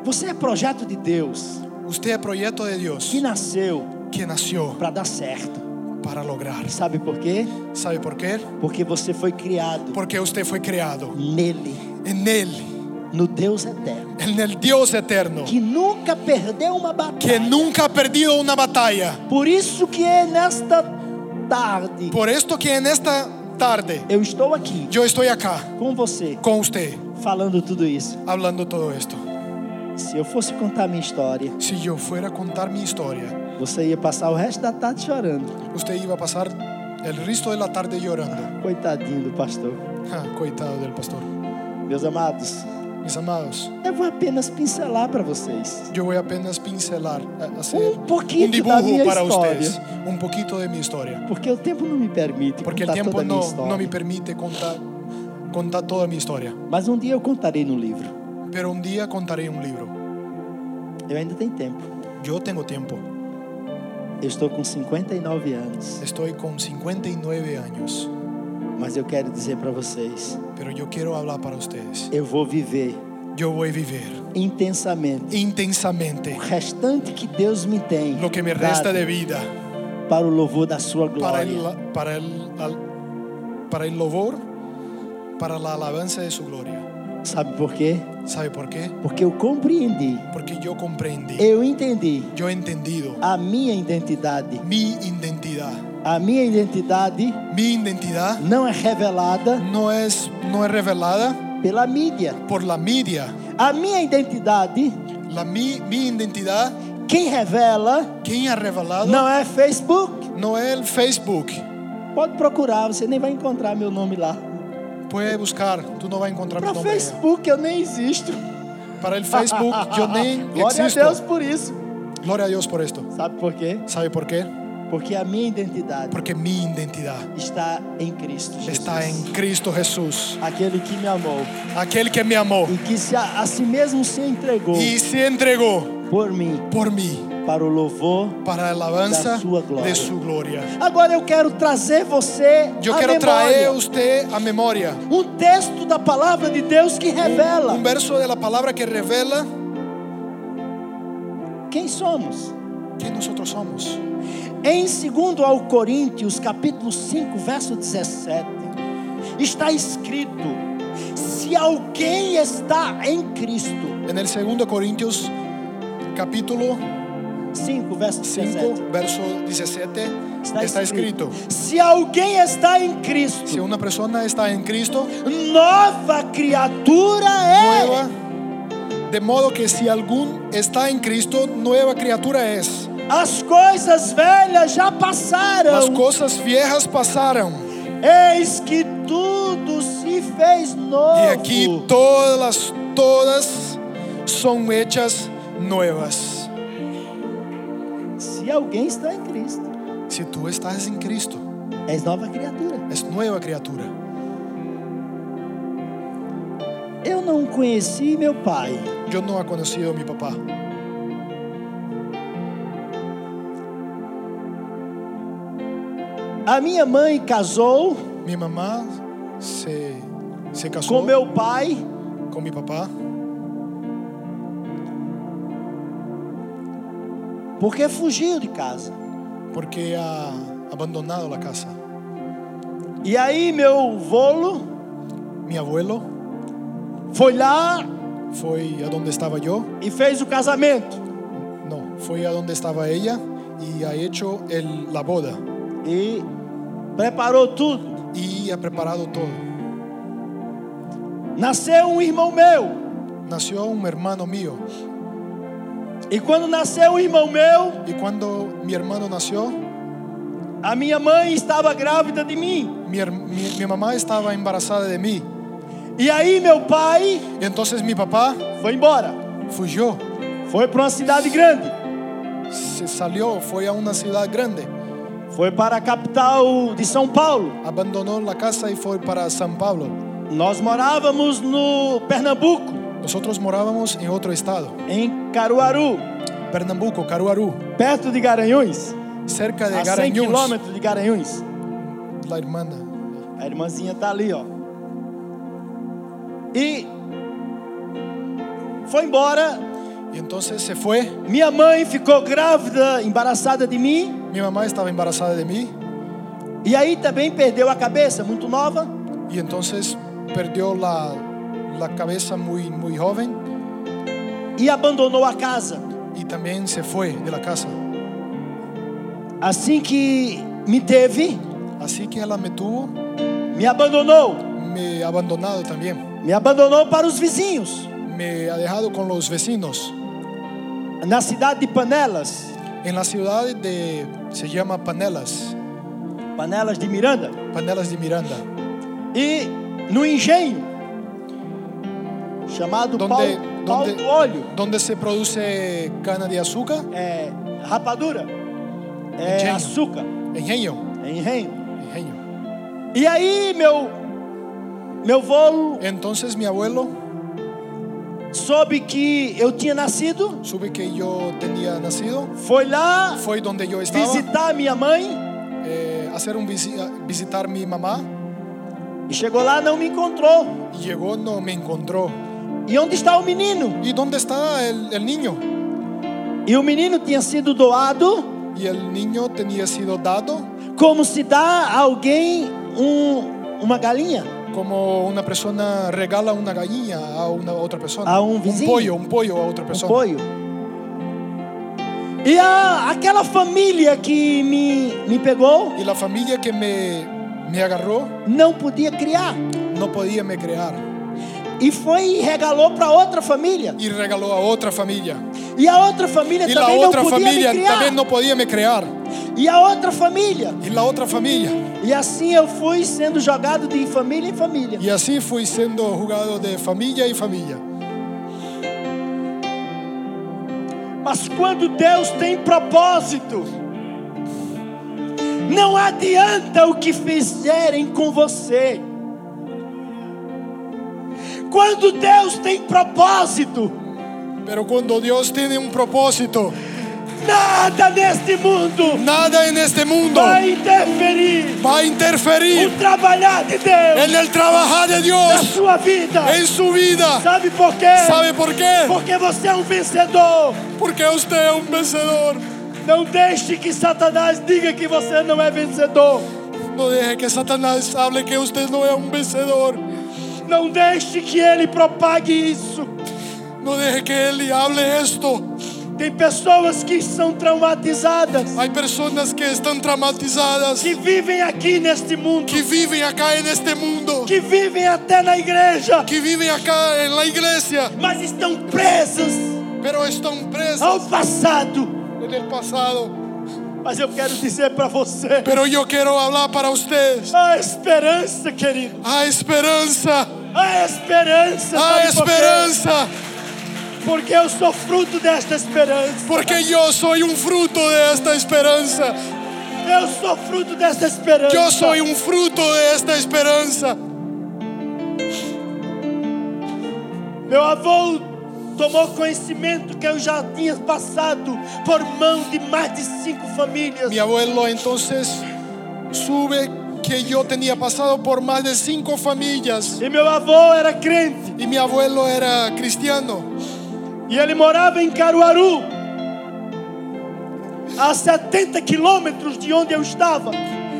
B: Você é projeto de Deus.
C: Usted es proyecto de Dios.
B: Que nasceu
C: Que nació
B: para dar certo.
C: para lograr.
B: Sabe por quê?
C: ¿Sabe por qué?
B: Porque você foi criado
C: Porque usted fue creado
B: nele,
C: en Él,
B: no Deus eterno.
C: en el Dios eterno,
B: Que nunca perdeu uma batalha.
C: que nunca ha perdido una batalla.
B: Por isso que é nesta tarde
C: Por esto que en esta tarde.
B: Eu estou aqui
C: Yo estoy acá
B: com você
C: con usted
B: falando tudo isso.
C: hablando todo esto.
B: Se eu fosse contar minha história,
C: Si yo fuera a contar mi historia,
B: você ia passar o resto da tarde chorando.
C: usted iba a pasar el resto de la tarde llorando.
B: Coitadinho do pastor.
C: Ja, coitado del pastor.
B: Meus amados,
C: Mis amados,
B: eu vou apenas pincelar para vocês.
C: yo voy apenas pincelar, a- hacer
B: Un poquito
C: un dibujo
B: da minha
C: para
B: historia.
C: ustedes, un poquito de mi historia,
B: Porque o tempo não me permite
C: porque el
B: contar toda
C: tiempo
B: a minha
C: no, no
B: história.
C: me permite contar, contar toda mi historia,
B: Mas um dia eu contarei no livro.
C: pero un día contaré un libro.
B: Eu ainda tenho tempo.
C: Yo tengo tiempo,
B: Eu estou com 59 anos.
C: estoy con 59 años,
B: Mas eu quero dizer para vocês:
C: pero yo quiero hablar para ustedes.
B: eu vou viver
C: Yo voy a vivir
B: intensamente
C: intensamente
B: o restante que Deus me tem
C: lo que me resta
B: dado
C: de vida
B: para o louvor da Sua glória.
C: para el, para el, al- para el louvor, para la alabanza de su gloria.
B: Sabe por quê?
C: ¿Sabe por qué?
B: Porque eu compreendi,
C: Porque yo comprendí.
B: eu entendi
C: Yo he entendido
B: a minha identidade.
C: mi identidad.
B: A minha identidade
C: Mi identidad
B: não é revelada
C: no es, no es revelada
B: pela mídia.
C: por la media.
B: A minha identidade,
C: La, mi, mi identidad,
B: quem revela
C: ¿quién ha revelado?
B: não é Facebook.
C: No es el Facebook.
B: Pode procurar, você nem vai encontrar meu nome lá.
C: Puede buscar, tú no vas a encontrar mi
B: Para
C: nombre.
B: Facebook eu nem existo.
C: Para el Facebook, yo ni
B: Glória a
C: existo.
B: Deus por isso.
C: Gloria a Dios por esto.
B: Sabe por quê?
C: ¿Sabe por qué?
B: Porque a minha identidade
C: Porque mi identidad
B: está em Cristo Jesus.
C: está en Cristo Jesús,
B: Aquele que me amou
C: aquel que me amó
B: e que se a, a si mesmo se entregou
C: y se entregó
B: por mim
C: por mí
B: para o louvor.
C: para la alabanza
B: Da sua gloria.
C: de su gloria.
B: Agora eu quero trazer você
C: Yo
B: à
C: quiero traer
B: memória
C: a usted a memoria
B: um texto da palavra de Deus que revela
C: un verso de la palabra que revela
B: quem somos.
C: quién nosotros somos.
B: Em 2 ao Coríntios, capítulo 5, verso 17, está escrito: Se alguém está em Cristo,
C: En el segundo Corintios capítulo
B: 5, verso 17,
C: 5, verso 17 está, escrito,
B: Se alguém está em Cristo,
C: si una persona está en Cristo,
B: nova criatura é.
C: nueva, de modo que si algún está en Cristo, nueva criatura es.
B: As coisas velhas já
C: Las
B: passaram.
C: cosas viejas pasaron
B: Eis que tudo se fez novo.
C: y aquí todas las todas son hechas nuevas.
B: Se alguém está em Cristo,
C: Si tú estás en Cristo,
B: és nova criatura.
C: es nueva criatura.
B: Eu não conheci meu pai,
C: Yo no he conocido a mi papá,
B: A minha mãe casou
C: Mi mamá se, se casó
B: com meu pai
C: con mi papá
B: porque fugiu de casa.
C: porque ha abandonado la casa.
B: E aí meu volo
C: Mi abuelo
B: foi lá
C: fue a donde estaba yo,
B: e fez o casamento.
C: no, fue a donde estaba ella y ha hecho el- la boda
B: E preparou tudo.
C: y ha preparado todo.
B: Nasceu um irmão meu.
C: Nació un hermano mío
B: E quando nasceu um irmão meu,
C: y cuando mi hermano nació,
B: a minha mãe estava grávida de mim.
C: mi, her- mi- mi mamá estaba embarazada de mí.
B: E aí meu pai
C: Y entonces mi papá
B: foi embora.
C: yo
B: Foi para uma cidade grande.
C: se salió, fue a una ciudad grande,
B: Foi para a capital de São Paulo.
C: abandonó la casa y fue para San Pablo.
B: Nós morávamos no Pernambuco,
C: Nosotros morábamos en otro estado,
B: em Caruaru,
C: Pernambuco, Caruaru,
B: perto de Garanhuns.
C: cerca de
B: a 100
C: Garanhuns,
B: quilômetros de Garanhuns.
C: la hermana.
B: A irmãzinha tá ali, ó. E foi embora.
C: Y entonces se fue,
B: Minha mãe ficou grávida, embaraçada de mim.
C: mi mamá estaba embarazada de mí
B: E aí também perdeu a cabeça, muito nova.
C: y entonces perdió la, la cabeza muy, muy joven
B: E abandonou a casa.
C: y también se fue de la casa.
B: Assim que me teve,
C: Así que ella me tuvo,
B: me abandonou,
C: me ha abandonado también,
B: me abandonou para os vizinhos,
C: me ha dejado con los vecinos.
B: na cidade de Panelas,
C: En la ciudad de, se llama Panelas,
B: Panelas de Miranda,
C: Panelas de Miranda,
B: e no engenho chamado pau,
C: donde,
B: pau
C: donde,
B: do olho,
C: donde se produce cana de azúcar,
B: é, rapadura, é
C: Engenho.
B: açúcar,
C: engenho,
B: é engenho.
C: engenho.
B: E aí meu meu vô
C: Entonces mi abuelo
B: soube que eu tinha nascido,
C: supe que yo tenía nacido,
B: foi lá
C: fue donde yo estaba,
B: visitar minha mãe
C: eh, hacer un visi- visitar mi mamá,
B: e chegou lá não me encontrou.
C: y llegó, no me encontró.
B: E onde está o menino?
C: ¿Y dónde está el, el niño?
B: E o menino tinha sido doado
C: Y el niño tenía sido dado
B: como se dá a alguém um, uma galinha.
C: como una persona regala una gallina a una otra persona.
B: A un
C: un
B: vecino.
C: pollo, un pollo a otra persona.
B: apoio. um E a, aquela família que me, me pegou
C: Y la familia que me, me agarró
B: não podia criar.
C: no podía me crear
B: E foi e regalou para outra família.
C: y regaló a otra familia.
B: E a outra família
C: Y la
B: também não
C: otra
B: podia
C: familia
B: me criar.
C: también no podía me crear.
B: E a outra família.
C: Y la otra familia.
B: E assim eu fui sendo jogado de família em família.
C: Y así fui siendo jugado de familia y familia.
B: Mas quando Deus tem propósito, não adianta o que fizerem com você. Quando Deus tem propósito,
C: Pero cuando Dios tiene un propósito,
B: nada neste mundo
C: nada en este mundo
B: vai interferir
C: va a
B: o
C: interferir
B: trabalhar de Deus
C: en el trabajar de
B: na
C: Dios
B: sua vida.
C: en su vida.
B: Sabe por quê?
C: ¿Sabe por qué?
B: Porque você é um vencedor.
C: Porque usted es un vencedor.
B: Não deixe que Satanás diga que você não é vencedor.
C: No deje que Satanás hable que usted no es un vencedor.
B: Não deixe que ele propague isso.
C: No deje que él hable esto.
B: Tem pessoas que são traumatizadas,
C: Hay personas que están traumatizadas,
B: que vivem aqui neste mundo,
C: que viven acá en este mundo,
B: que vivem até na igreja,
C: que viven acá en la iglesia,
B: mas estão presas
C: pero están presas
B: ao passado.
C: en el pasado.
B: Mas eu quero dizer para você:
C: Pero yo quiero hablar para ustedes.
B: há esperança, querido.
C: Hay esperanza,
B: Há esperança.
C: hay
B: sabe por quê?
C: esperanza,
B: Porque eu sou fruto desta esperança.
C: porque yo soy un fruto de esta esperanza.
B: Eu sou fruto desta esperança.
C: Yo soy un fruto de esta esperanza.
B: Meu avô tomou conhecimento que eu já tinha passado por mão de mais de cinco famílias.
C: Mi abuelo entonces sube que yo tenía pasado por más de cinco familias
B: E meu avô era crente.
C: y mi abuelo era cristiano
B: E ele morava em Caruaru, a 70 quilômetros de onde eu estava.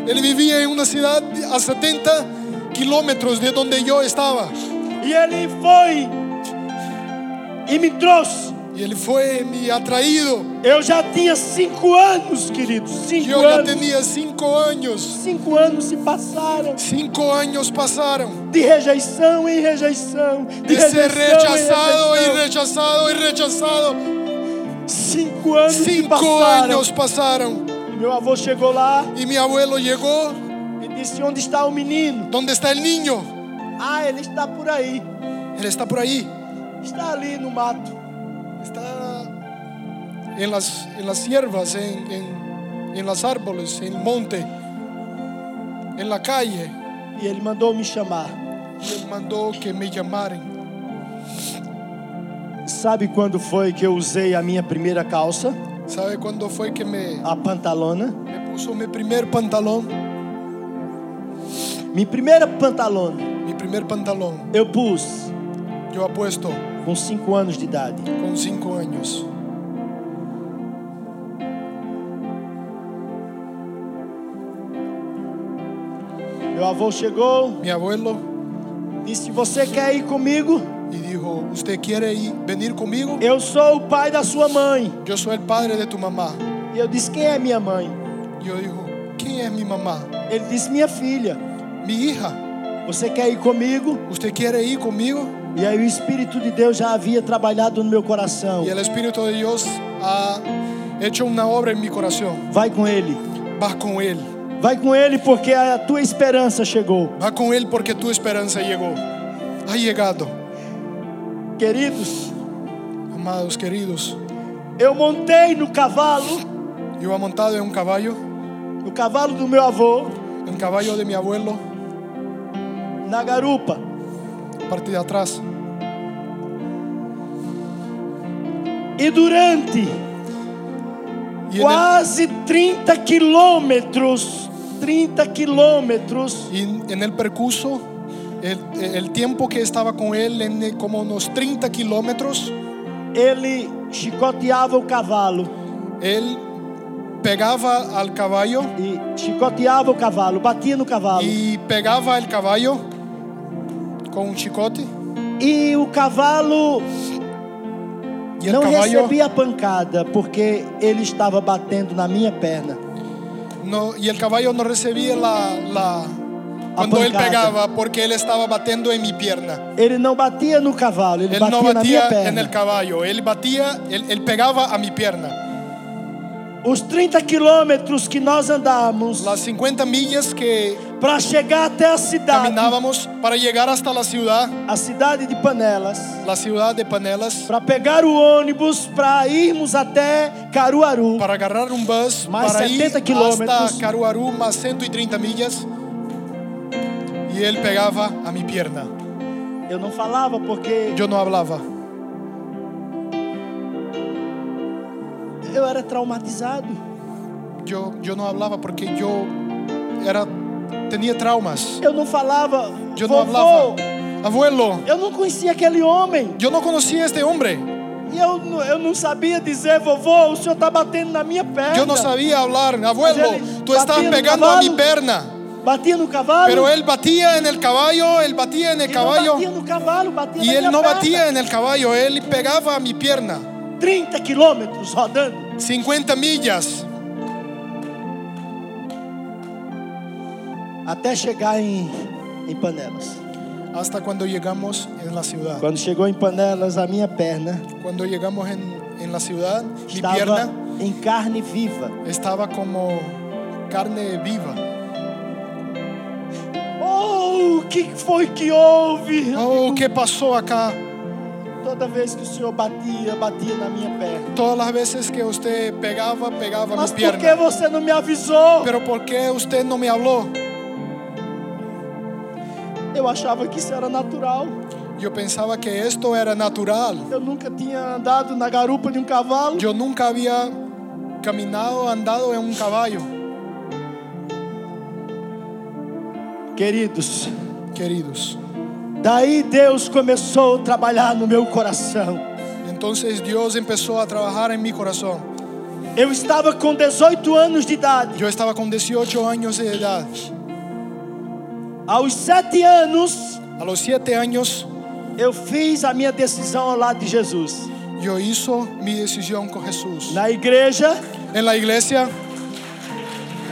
C: Él vivía en una ciudad a 70 kilómetros de donde yo estaba.
B: E ele foi e me trouxe.
C: Y él fue mi atraído.
B: Eu já tinha cinco anos, querido. Cinco
C: Yo ya
B: anos.
C: tenía cinco años.
B: Cinco anos se passaram
C: Cinco años pasaron
B: de rejeição em rejeição, de
C: de ser
B: rejeição
C: rechazado
B: em
C: y
B: rejeição.
C: rechazado y rechazado.
B: Cinco anos se
C: Cinco
B: passaram.
C: años pasaron.
B: E Meu avô chegou lá
C: Y mi abuelo llegó.
B: e disse: Onde está o menino?
C: ¿Dónde está el niño?
B: Ah, ele está por aí.
C: Él está por ahí.
B: Está ali no mato.
C: está en las, en las hierbas, en, en, en los árboles, en el monte, en la calle.
B: E ele mandou me chamar.
C: Y él mandó que me llamaran.
B: Sabe quando foi que eu usei a minha primeira calça,
C: ¿Sabe cuándo fue que me,
B: a pantalona?
C: me puso mi primer pantalón?
B: Minha primeira pantalona
C: Mi primer pantalón.
B: eu pus
C: Yo apuesto
B: com 5 anos de idade.
C: con cinco años.
B: Meu avô chegou,
C: Mi abuelo
B: disse: Você quer ir comigo?
C: y dijo, ¿usted quiere ir- venir conmigo?
B: Eu sou o pai da sua mãe.
C: Yo soy el padre de tu mamá.
B: E eu disse: Quem é minha mãe?
C: Yo dijo, ¿quién es mi mamá?
B: Ele disse: Minha filha.
C: Mi hija.
B: Você quer ir comigo?
C: ¿Usted quiere ir conmigo?
B: E aí o Espírito de Deus já havia trabalhado no meu coração.
C: Y el Espíritu de Dios ha hecho una obra en mi corazón.
B: Vai com ele.
C: Vas con Él.
B: Vai com ele porque a tua esperança chegou.
C: Va con Él porque tu esperanza llegó. Ha llegado.
B: Queridos,
C: Amados, queridos,
B: eu montei no cavalo,
C: yo he montado en un caballo,
B: no cavalo do meu avô,
C: en caballo de mi abuelo,
B: na garupa.
C: parte de atrás.
B: E durante
C: Y en, el-
B: quase 30 quilômetros, 30 quilômetros,
C: y en- en el percurso, el, el tiempo que estaba con Él, en eh, como unos 30 kilómetros,
B: ele chicoteava o cavalo
C: Él pegaba al caballo
B: e chicoteava o cavalo, batia no cavalo.
C: y pegaba el caballo con un chicote
B: E o cavalo
C: y el
B: não
C: caballo
B: recebia a pancada porque ele estava batendo na minha perna.
C: no, y el caballo no recibía la, la- cuando él
B: pancada.
C: pegaba porque él estaba batiendo en mi pierna.
B: Ele não batia no cavalo, ele
C: Él
B: batia
C: no
B: na minha
C: batía en
B: perna.
C: el caballo, él batía, él, él pegaba a mi pierna.
B: Os 30 quilômetros que nós andamos
C: Las 50 millas que
B: para chegar até a cidade,
C: caminábamos para llegar hasta la ciudad,
B: a cidade de Panelas,
C: la ciudad de Panelas,
B: para pegar o ônibus para irmos até Caruaru,
C: para agarrar un bus
B: Más
C: para
B: 70
C: ir
B: kilómetros.
C: hasta Caruaru más 130 millas y él pegaba a mi pierna.
B: eu não falava porque
C: Yo no hablaba,
B: eu era traumatizado.
C: yo, yo no hablaba porque yo era, tenía traumas.
B: Eu não falava,
C: Yo no hablaba.
B: vovô,
C: Abuelo,
B: eu não conhecia aquele homem.
C: yo no conocía a este hombre.
B: E eu, não- eu não sabia dizer, vovô, o senhor está batendo na minha perna.
C: Yo no sabía hablar. Abuelo,
B: él
C: tú estás
B: batía el
C: pegando a mi
B: caballo.
C: perna.
B: Batia no cavalo.
C: Pero él batía en el caballo, él batía en el
B: ele
C: caballo.
B: não batia no cavalo, batia
C: Y
B: na
C: él
B: minha
C: no
B: perna.
C: batía en el caballo, él pegaba a mi pierna.
B: 30 quilômetros rodando.
C: 50 millas
B: Até chegar em, em Panelas.
C: hasta cuando llegamos en la ciudad.
B: Quando chegou em Panelas, a minha perna
C: Cuando llegamos en, en la ciudad, mi
B: estava
C: pierna
B: em carne viva.
C: estaba como carne viva.
B: Oh, o que foi que houve?
C: Oh, ¿qué pasó acá?
B: Toda vez que o senhor batia, batia na minha perna.
C: Todas las veces que usted pegaba, pegaba
B: Mas
C: mi
B: por que
C: pierna.
B: você não me avisou?
C: Pero ¿por qué usted no me habló?
B: Eu achava que isso era natural.
C: Yo pensaba que esto era natural.
B: Eu nunca tinha andado na garupa de um cavalo.
C: Yo nunca había caminado, andado en un caballo.
B: Queridos,
C: Queridos,
B: daí Deus começou a trabalhar no meu coração.
C: entonces Dios empezó a trabajar en mi corazón.
B: Eu estava com 18 anos de idade.
C: Yo estaba con 18 años de edad.
B: Aos 7 anos,
C: A los 7 años
B: eu fiz a minha decisão ao lado de Jesus.
C: yo hizo mi decisión con Jesús.
B: Na igreja,
C: En la iglesia,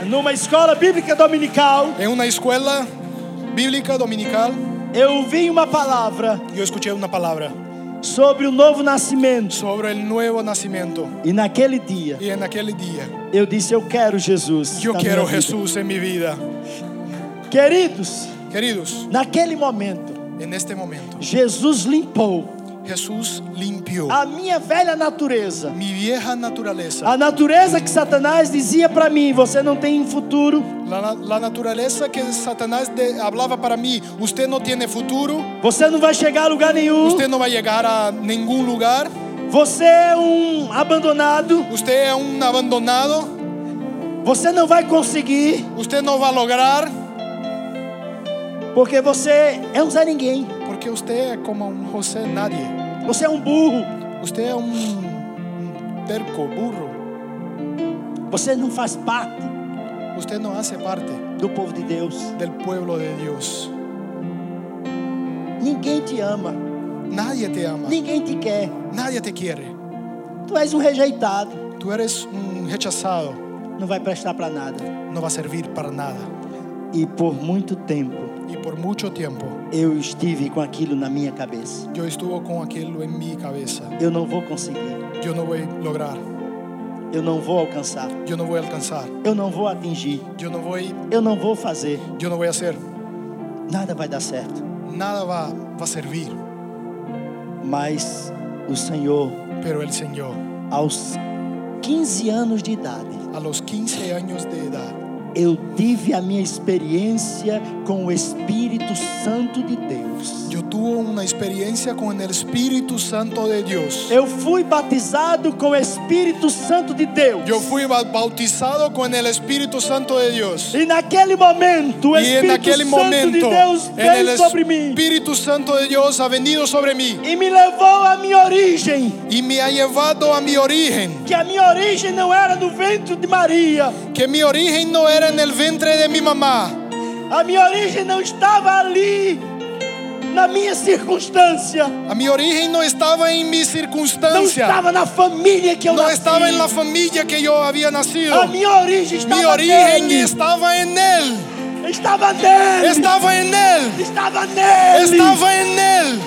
B: numa escola bíblica dominical,
C: en una escuela bíblica dominical,
B: eu vi uma palavra
C: yo escuché una palabra
B: sobre o novo nascimento.
C: sobre el nuevo nacimiento.
B: E naquele dia,
C: Y en aquel día,
B: eu disse: Eu quero Jesus.
C: yo
B: na
C: quiero
B: minha vida."
C: Jesús en mi vida.
B: Queridos,
C: Queridos,
B: naquele momento,
C: en este momento,
B: Jesus limpou
C: Jesús limpió
B: a minha velha natureza.
C: mi vieja naturaleza.
B: A natureza que Satanás dizia para mim: Você não tem futuro,
C: La, la naturaleza que Satanás de- hablaba para mí, usted no tiene futuro,
B: você não vai chegar a lugar nenhum.
C: usted no va a llegar a ningún lugar,
B: Você é um abandonado,
C: usted es un abandonado,
B: você não vai conseguir,
C: usted no va a lograr,
B: porque você é um Zé Ninguém,
C: porque usted es como un José nadie,
B: você é um burro,
C: usted es un, un terco burro,
B: você não faz parte
C: usted no hace parte
B: do povo de Deus.
C: del pueblo de Dios.
B: Ninguém te ama,
C: Nadie te ama,
B: ninguém te quer,
C: nadie te quiere,
B: tu és um rejeitado,
C: tú eres un rechazado,
B: não vai prestar para nada.
C: no va a servir para nada.
B: E por muito tempo
C: Y por mucho tiempo
B: Eu estive com aquilo na minha cabeça.
C: yo estuve con aquello en mi cabeza.
B: Eu não vou conseguir.
C: Yo no voy a lograr,
B: Eu não vou alcançar.
C: yo no voy a alcanzar,
B: Eu não vou atingir.
C: yo no voy,
B: Eu não vou fazer.
C: yo no voy a hacer.
B: Nada vai dar certo.
C: Nada va, va a servir,
B: Mas o Senhor,
C: pero el Señor
B: aos 15 anos de idade,
C: a los 15 años de edad
B: eu tive a minha experiência com o Espírito Santo de Deus.
C: yo tuve una experiencia con el Espíritu Santo de Dios.
B: Eu fui batizado com o Espírito Santo de Deus.
C: Yo fui ba- bautizado con el Espíritu Santo de Dios.
B: E naquele momento, o
C: Y en
B: Espírito
C: aquel
B: Santo de
C: momento,
B: Deus
C: en el
B: veio sobre mim
C: Espíritu Santo de Dios ha venido sobre mí
B: e me levou à minha origem.
C: y me ha llevado a mi origen,
B: que a minha origem não era no ventre de Maria,
C: que mi origen no era en el vientre de mi mamá,
B: a minha origem não estava ali, na minha circunstância,
C: a mi origen no estaba en mi
B: não
C: circunstancia,
B: estava na família que eu
C: no
B: nasci.
C: estaba en la familia que yo había nacido,
B: A minha origem estava
C: mi origen
B: nele,
C: estaba en él,
B: estava nele,
C: estaba en él,
B: estava nele.
C: estaba en él.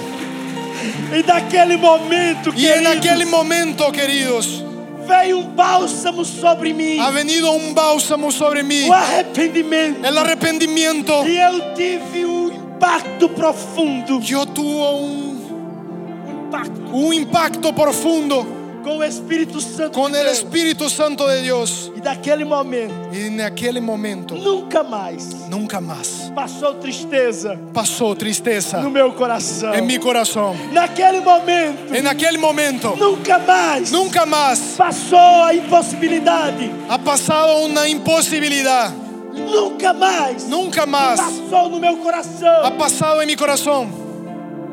B: E naquele momento,
C: Y en
B: queridos,
C: aquel momento, queridos,
B: veio um bálsamo sobre mim,
C: ha venido un bálsamo sobre mí,
B: o arrependimento,
C: el arrepentimiento.
B: e eu tive um impacto profundo,
C: Yo tuvo un,
B: um impacto
C: un impacto profundo
B: com o Espírito Santo
C: con
B: de
C: el
B: Deus.
C: Espíritu Santo de Dios.
B: E daquele momento,
C: Y en aquel momento
B: nunca mais
C: nunca más
B: passou tristeza
C: pasó tristeza
B: no meu coração.
C: en mi corazón.
B: Naquele momento,
C: En aquel momento
B: nunca mais
C: nunca más
B: passou a impossibilidade.
C: ha pasado una imposibilidad.
B: Nunca mais
C: Nunca más
B: passou no meu coração
C: ha pasado en mi corazón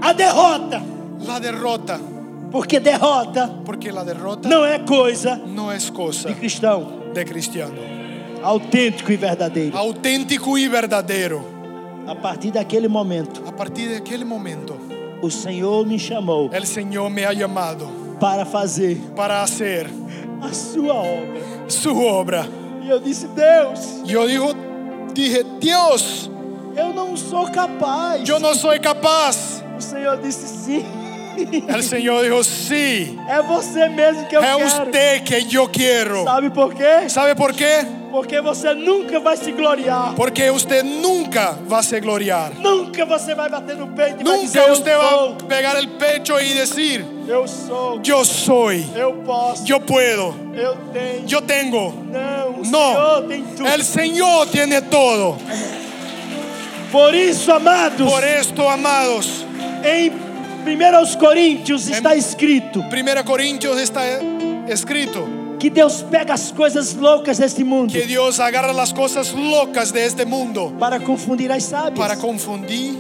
B: a derrota.
C: la derrota.
B: Porque derrota
C: Porque la derrota
B: não é coisa
C: no es cosa
B: de cristão
C: de cristiano.
B: autêntico e verdadeiro.
C: Auténtico y verdadero.
B: A partir daquele momento,
C: A partir de aquel momento,
B: o Senhor me chamou
C: el Señor me ha llamado
B: para fazer
C: para hacer
B: a sua obra.
C: su obra.
B: E eu disse: Deus,
C: Yo digo, dije, Dios,
B: eu não sou capaz.
C: yo no soy capaz.
B: O Senhor disse: Sim.
C: El Señor dijo, sí,
B: É você mesmo que eu
C: es
B: quero.
C: usted que yo quiero.
B: Sabe por quê?
C: ¿Sabe por qué?
B: Porque você nunca vai se gloriar.
C: Porque usted nunca va a se gloriar.
B: Nunca você vai bater no peito e vai dizer,
C: Nunca
B: eu
C: usted va
B: sou,
C: a pegar el pecho y decir,
B: eu sou,
C: yo soy,
B: eu posso,
C: yo puedo,
B: eu tenho.
C: yo tengo.
B: Não, o
C: No,
B: Senhor tem tudo.
C: el Señor tiene todo.
B: Por isso, amados,
C: Por esto, amados,
B: em 1 Coríntios está escrito
C: 1 Corintios está escrito
B: que Deus pega as coisas loucas deste mundo
C: que Dios agarra las cosas locas de este mundo
B: para confundir as sábias.
C: para confundir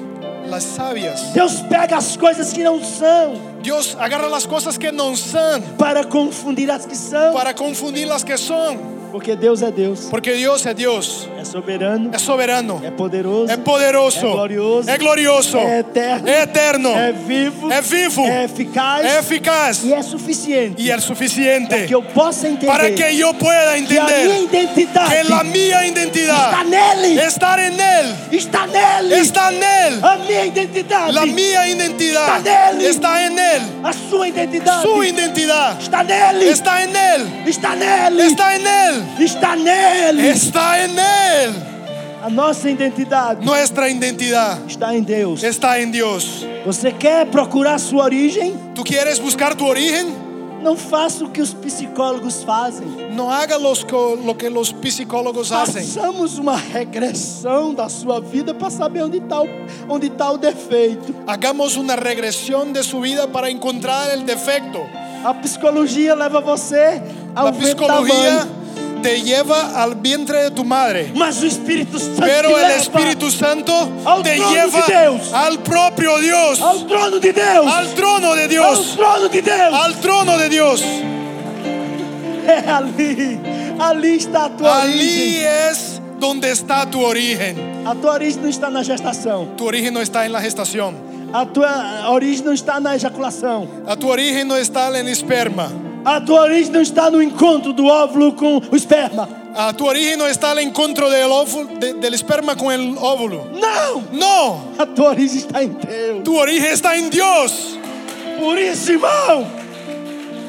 C: las sabias.
B: Deus pega as coisas que não são
C: Dios agarra las cosas que no son
B: para confundir as que são.
C: para confundir las que son,
B: Porque Deus é Deus,
C: porque Dios es Dios,
B: é soberano,
C: es soberano,
B: é poderoso,
C: es poderoso,
B: É glorioso.
C: es glorioso,
B: É eterno.
C: es eterno,
B: é vivo,
C: é vivo,
B: é eficaz
C: es eficaz
B: e é suficiente
C: y es suficiente
B: que eu possa entender
C: para que yo pueda
B: que a minha
C: entender
B: identidade
C: que la mía
B: está
C: identidad
B: nele,
C: estar en él,
B: está nele,
C: está en él,
B: a minha identidade,
C: la mía
B: Está
C: identidad
B: en él.
C: está en él,
B: a sua identidade
C: su identidad
B: está nele,
C: está en él,
B: está nele,
C: está en él,
B: está nele,
C: está en él.
B: a nossa identidade
C: Nuestra identidad
B: está em Deus.
C: está en Dios.
B: Você quer procurar sua origem?
C: ¿Tú quieres buscar tu origen?
B: Não faça o que os psicólogos fazem.
C: No haga los co- lo que los psicólogos
B: Ah,
C: hacen.
B: Façamos uma regressão da sua vida para saber onde está o, onde tá o defeito.
C: Hagamos una regresión de su vida para encontrar el defecto.
B: A psicologia leva você ao
C: La
B: ventre da
C: psicología
B: mãe.
C: te lleva al vientre de tu madre.
B: Mas o Espírito Santo
C: Pero
B: te
C: el
B: leva
C: Espíritu Santo
B: Al
C: te
B: trono
C: lleva
B: de Dios.
C: al propio Dios,
B: ao trono de Deus.
C: al trono de
B: Ao
C: Dios,
B: trono de Deus.
C: al trono de Dios.
B: É ali. Ali está a tua
C: Allí
B: origem.
C: es donde está tu origen.
B: A tua origem não está na gestação.
C: Tu origen no está en la gestación.
B: A tua origem não está na ejaculação.
C: A tu origen no está en el esperma.
B: A tua origem não está no encontro do óvulo com o esperma.
C: Ah, tu origen no está al encuentro del, óvulo- de- del esperma con el óvulo.
B: Não!
C: No,
B: A tua origem está em Deus.
C: tu origen está en Dios.
B: Por isso, irmão,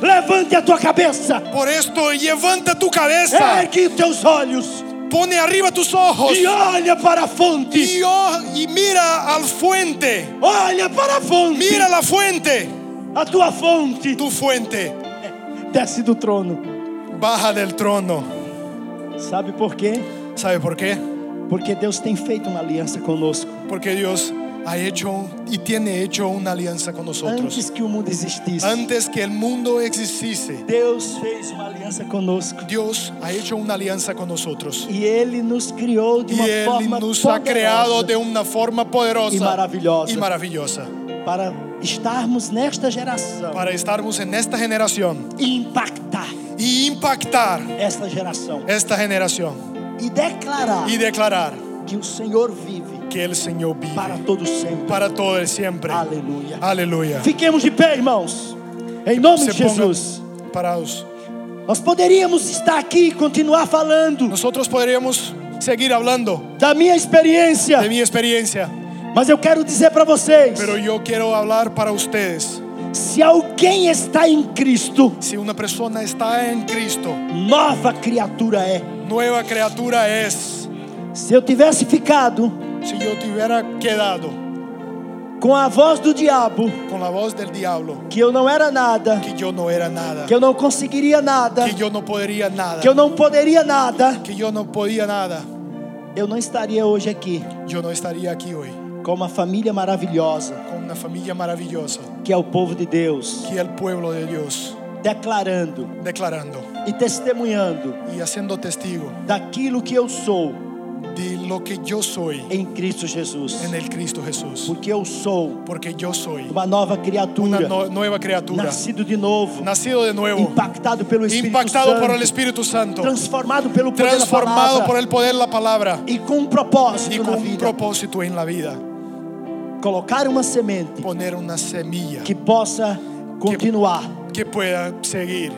B: levante a tua cabeça,
C: Por esto, levanta tu cabeza,
B: ergue os teus olhos
C: pone arriba tus ojos
B: e olha para a fonte.
C: y, o- y mira al fuente.
B: Olha para a fonte.
C: Mira la fuente,
B: A tua fonte
C: tu fuente.
B: desce do trono.
C: Baja del trono.
B: Sabe por quê?
C: ¿Sabe por qué?
B: Porque Deus tem feito uma aliança conosco.
C: Porque Dios ha hecho y tiene hecho una alianza con nosotros.
B: Antes que o mundo existisse,
C: Antes que el mundo existiese,
B: Deus fez uma aliança conosco.
C: Dios ha hecho una alianza con nosotros.
B: E Ele nos criou de
C: Y
B: uma
C: Él
B: forma
C: nos ha
B: poderosa
C: creado de una forma poderosa
B: Y maravillosa.
C: y maravillosa
B: para estarmos nesta geração
C: para estarmos en esta generación
B: e impactar
C: y impactar
B: esta geração
C: esta generación
B: e declarar
C: y declarar
B: que o Senhor vive
C: que el Señor vive
B: para
C: para,
B: todo sempre.
C: todo el siempre.
B: Aleluia.
C: Aleluya.
B: Fiquemos de pé, irmãos. Em nome de
C: Se pongan
B: Jesus.
C: parados.
B: Nós poderíamos estar aqui e continuar falando
C: Nosotros podríamos seguir hablando
B: da minha experiência,
C: de mi experiencia,
B: mas eu quero dizer para vocês:
C: pero yo quiero hablar para ustedes.
B: se alguém está em Cristo,
C: Si una persona está en Cristo,
B: nova criatura é.
C: nueva criatura es.
B: Se eu tivesse ficado
C: Si yo te hubiera quedado
B: com a voz do diabo,
C: con la voz del diablo,
B: que eu não era nada,
C: que yo no era nada,
B: que eu não conseguiria nada,
C: que yo no podría nada,
B: que eu não poderia nada,
C: que yo no podía nada,
B: eu não estaria hoje aqui
C: yo no estaría aquí hoy
B: com uma família maravilhosa,
C: con una familia maravillosa,
B: que é o povo de Deus,
C: que el pueblo de Dios
B: declarando
C: declarando
B: e testemunhando
C: y haciendo testigo
B: daquilo que eu sou
C: de lo que yo soy
B: em Cristo Jesus.
C: en el Cristo Jesús,
B: Porque eu sou
C: porque yo soy
B: uma nova
C: una
B: criatura,
C: no- nueva criatura,
B: nascido de novo,
C: nacido de nuevo,
B: impactado pelo Espírito
C: impactado
B: Santo,
C: por el Espíritu Santo,
B: transformado pelo poder da
C: transformado por
B: palavra
C: el poder de la palabra
B: e com um propósito
C: y
B: na
C: con un
B: vida.
C: propósito en la vida,
B: Colocar uma semente
C: poner una semilla
B: que possa continuar,
C: que pueda seguir,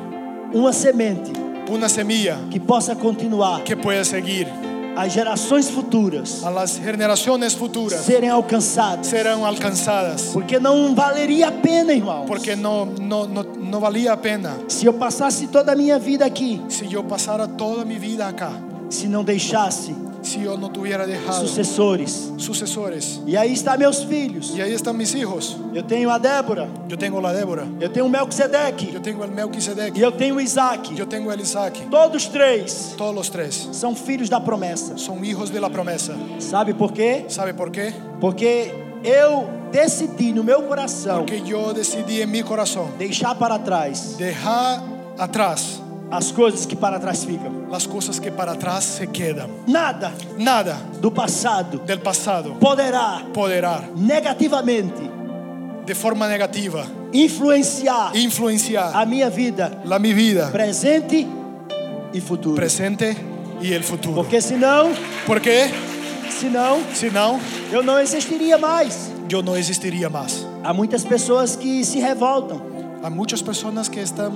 B: uma semente
C: una semilla
B: que possa continuar
C: que pueda seguir
B: as gerações futuras
C: a las generaciones futuras
B: serem alcançadas.
C: serán alcanzadas.
B: Porque não valeria a pena, irmãos,
C: Porque no, no, no, no valía pena
B: se eu passasse toda a minha vida aqui,
C: si yo pasara toda mi vida acá,
B: se não deixasse
C: si yo no tuviera dejado
B: sucessores.
C: sucesores.
B: E aí está meus filhos.
C: Y ahí están mis hijos.
B: Eu tenho a Débora,
C: Yo tengo la Débora,
B: eu tenho o Melquisedeque
C: yo tengo el
B: e
C: Melquisedec,
B: eu tenho o Isaac.
C: yo tengo el Isaac.
B: Todos três
C: Todos los tres
B: são filhos da promessa.
C: son hijos de la promesa.
B: Sabe por quê?
C: ¿Sabe por qué?
B: Porque eu decidi no meu coração
C: Porque yo decidí en mi corazón
B: deixar para trás
C: dejar atrás
B: as coisas que para trás ficam.
C: las cosas que para atrás se quedan.
B: Nada
C: Nada
B: do passado
C: del pasado
B: poderá
C: poderar
B: negativamente
C: de forma negativa
B: influenciar
C: influenciar
B: a minha vida
C: la mi vida
B: presente e futuro.
C: presente y el futuro.
B: Porque senão,
C: Porque
B: senão
C: si no,
B: eu não existiria mais.
C: yo no existiría más.
B: Há muitas pessoas que se revoltam.
C: Hay muchas personas que están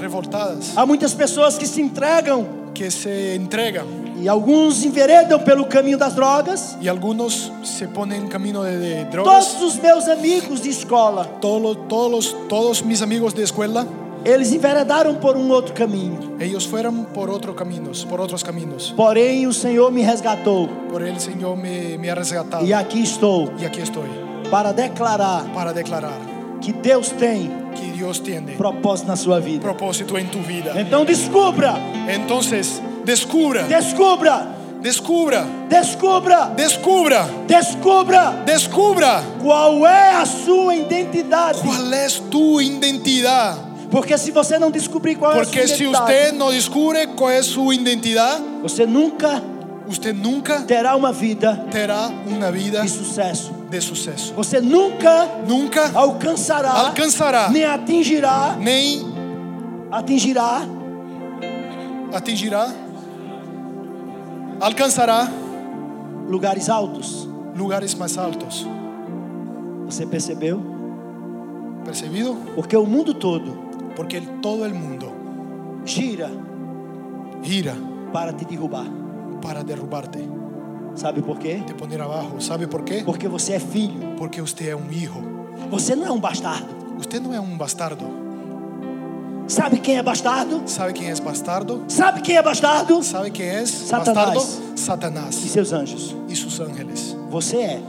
C: revoltadas,
B: Há muitas pessoas que se entregam
C: que se entregan
B: e alguns enveredam pelo caminho das drogas.
C: y algunos se ponen en camino de, de
B: Todos
C: drogas.
B: os meus amigos de escola,
C: Todos, los- todos, los- todos mis amigos de escuela,
B: eles enveredaram por um outro caminho.
C: ellos fueron por otros caminos, por otros caminos.
B: Porém, o Senhor me resgatou
C: Por el Señor me, me ha rescatado
B: e aqui estou
C: y aquí estoy
B: para declarar
C: para declarar
B: que Deus tem
C: que Dios tiene
B: propósito na sua vida.
C: propósito en tu vida.
B: Então descubra,
C: Entonces, descubra,
B: descubra,
C: descubra.
B: descubra,
C: Descubra,
B: descubra
C: descubra
B: qual é a sua identidade.
C: cuál es tu identidad.
B: Porque se você não descobrir qual é
C: Porque
B: a sua
C: si
B: identidade,
C: usted no descubre cuál es su identidad,
B: você nunca
C: usted nunca
B: terá uma vida
C: tendrá una vida
B: de sucesso.
C: de suceso.
B: Você nunca
C: Nunca
B: alcançará,
C: Alcançará.
B: nem atingirá,
C: ni
B: atingirá
C: atingirá, alcanzará
B: lugares altos.
C: lugares más altos.
B: Você percebeu?
C: ¿Percibido?
B: Porque o mundo todo
C: Porque el- todo el mundo
B: gira
C: gira
B: para te derrubar.
C: para derrubarte,
B: Sabe por quê?
C: te poner abajo. ¿Sabe por qué?
B: Porque você é filho.
C: Porque usted es un hijo.
B: Você não é um bastardo.
C: Usted no es un bastardo.
B: Sabe quem é bastardo?
C: ¿Sabe quién es bastardo?
B: Sabe quem é bastardo?
C: ¿Sabe quién es
B: Satanás.
C: bastardo?
B: E
C: Satanás
B: seus anjos.
C: y sus ángeles.
B: Você é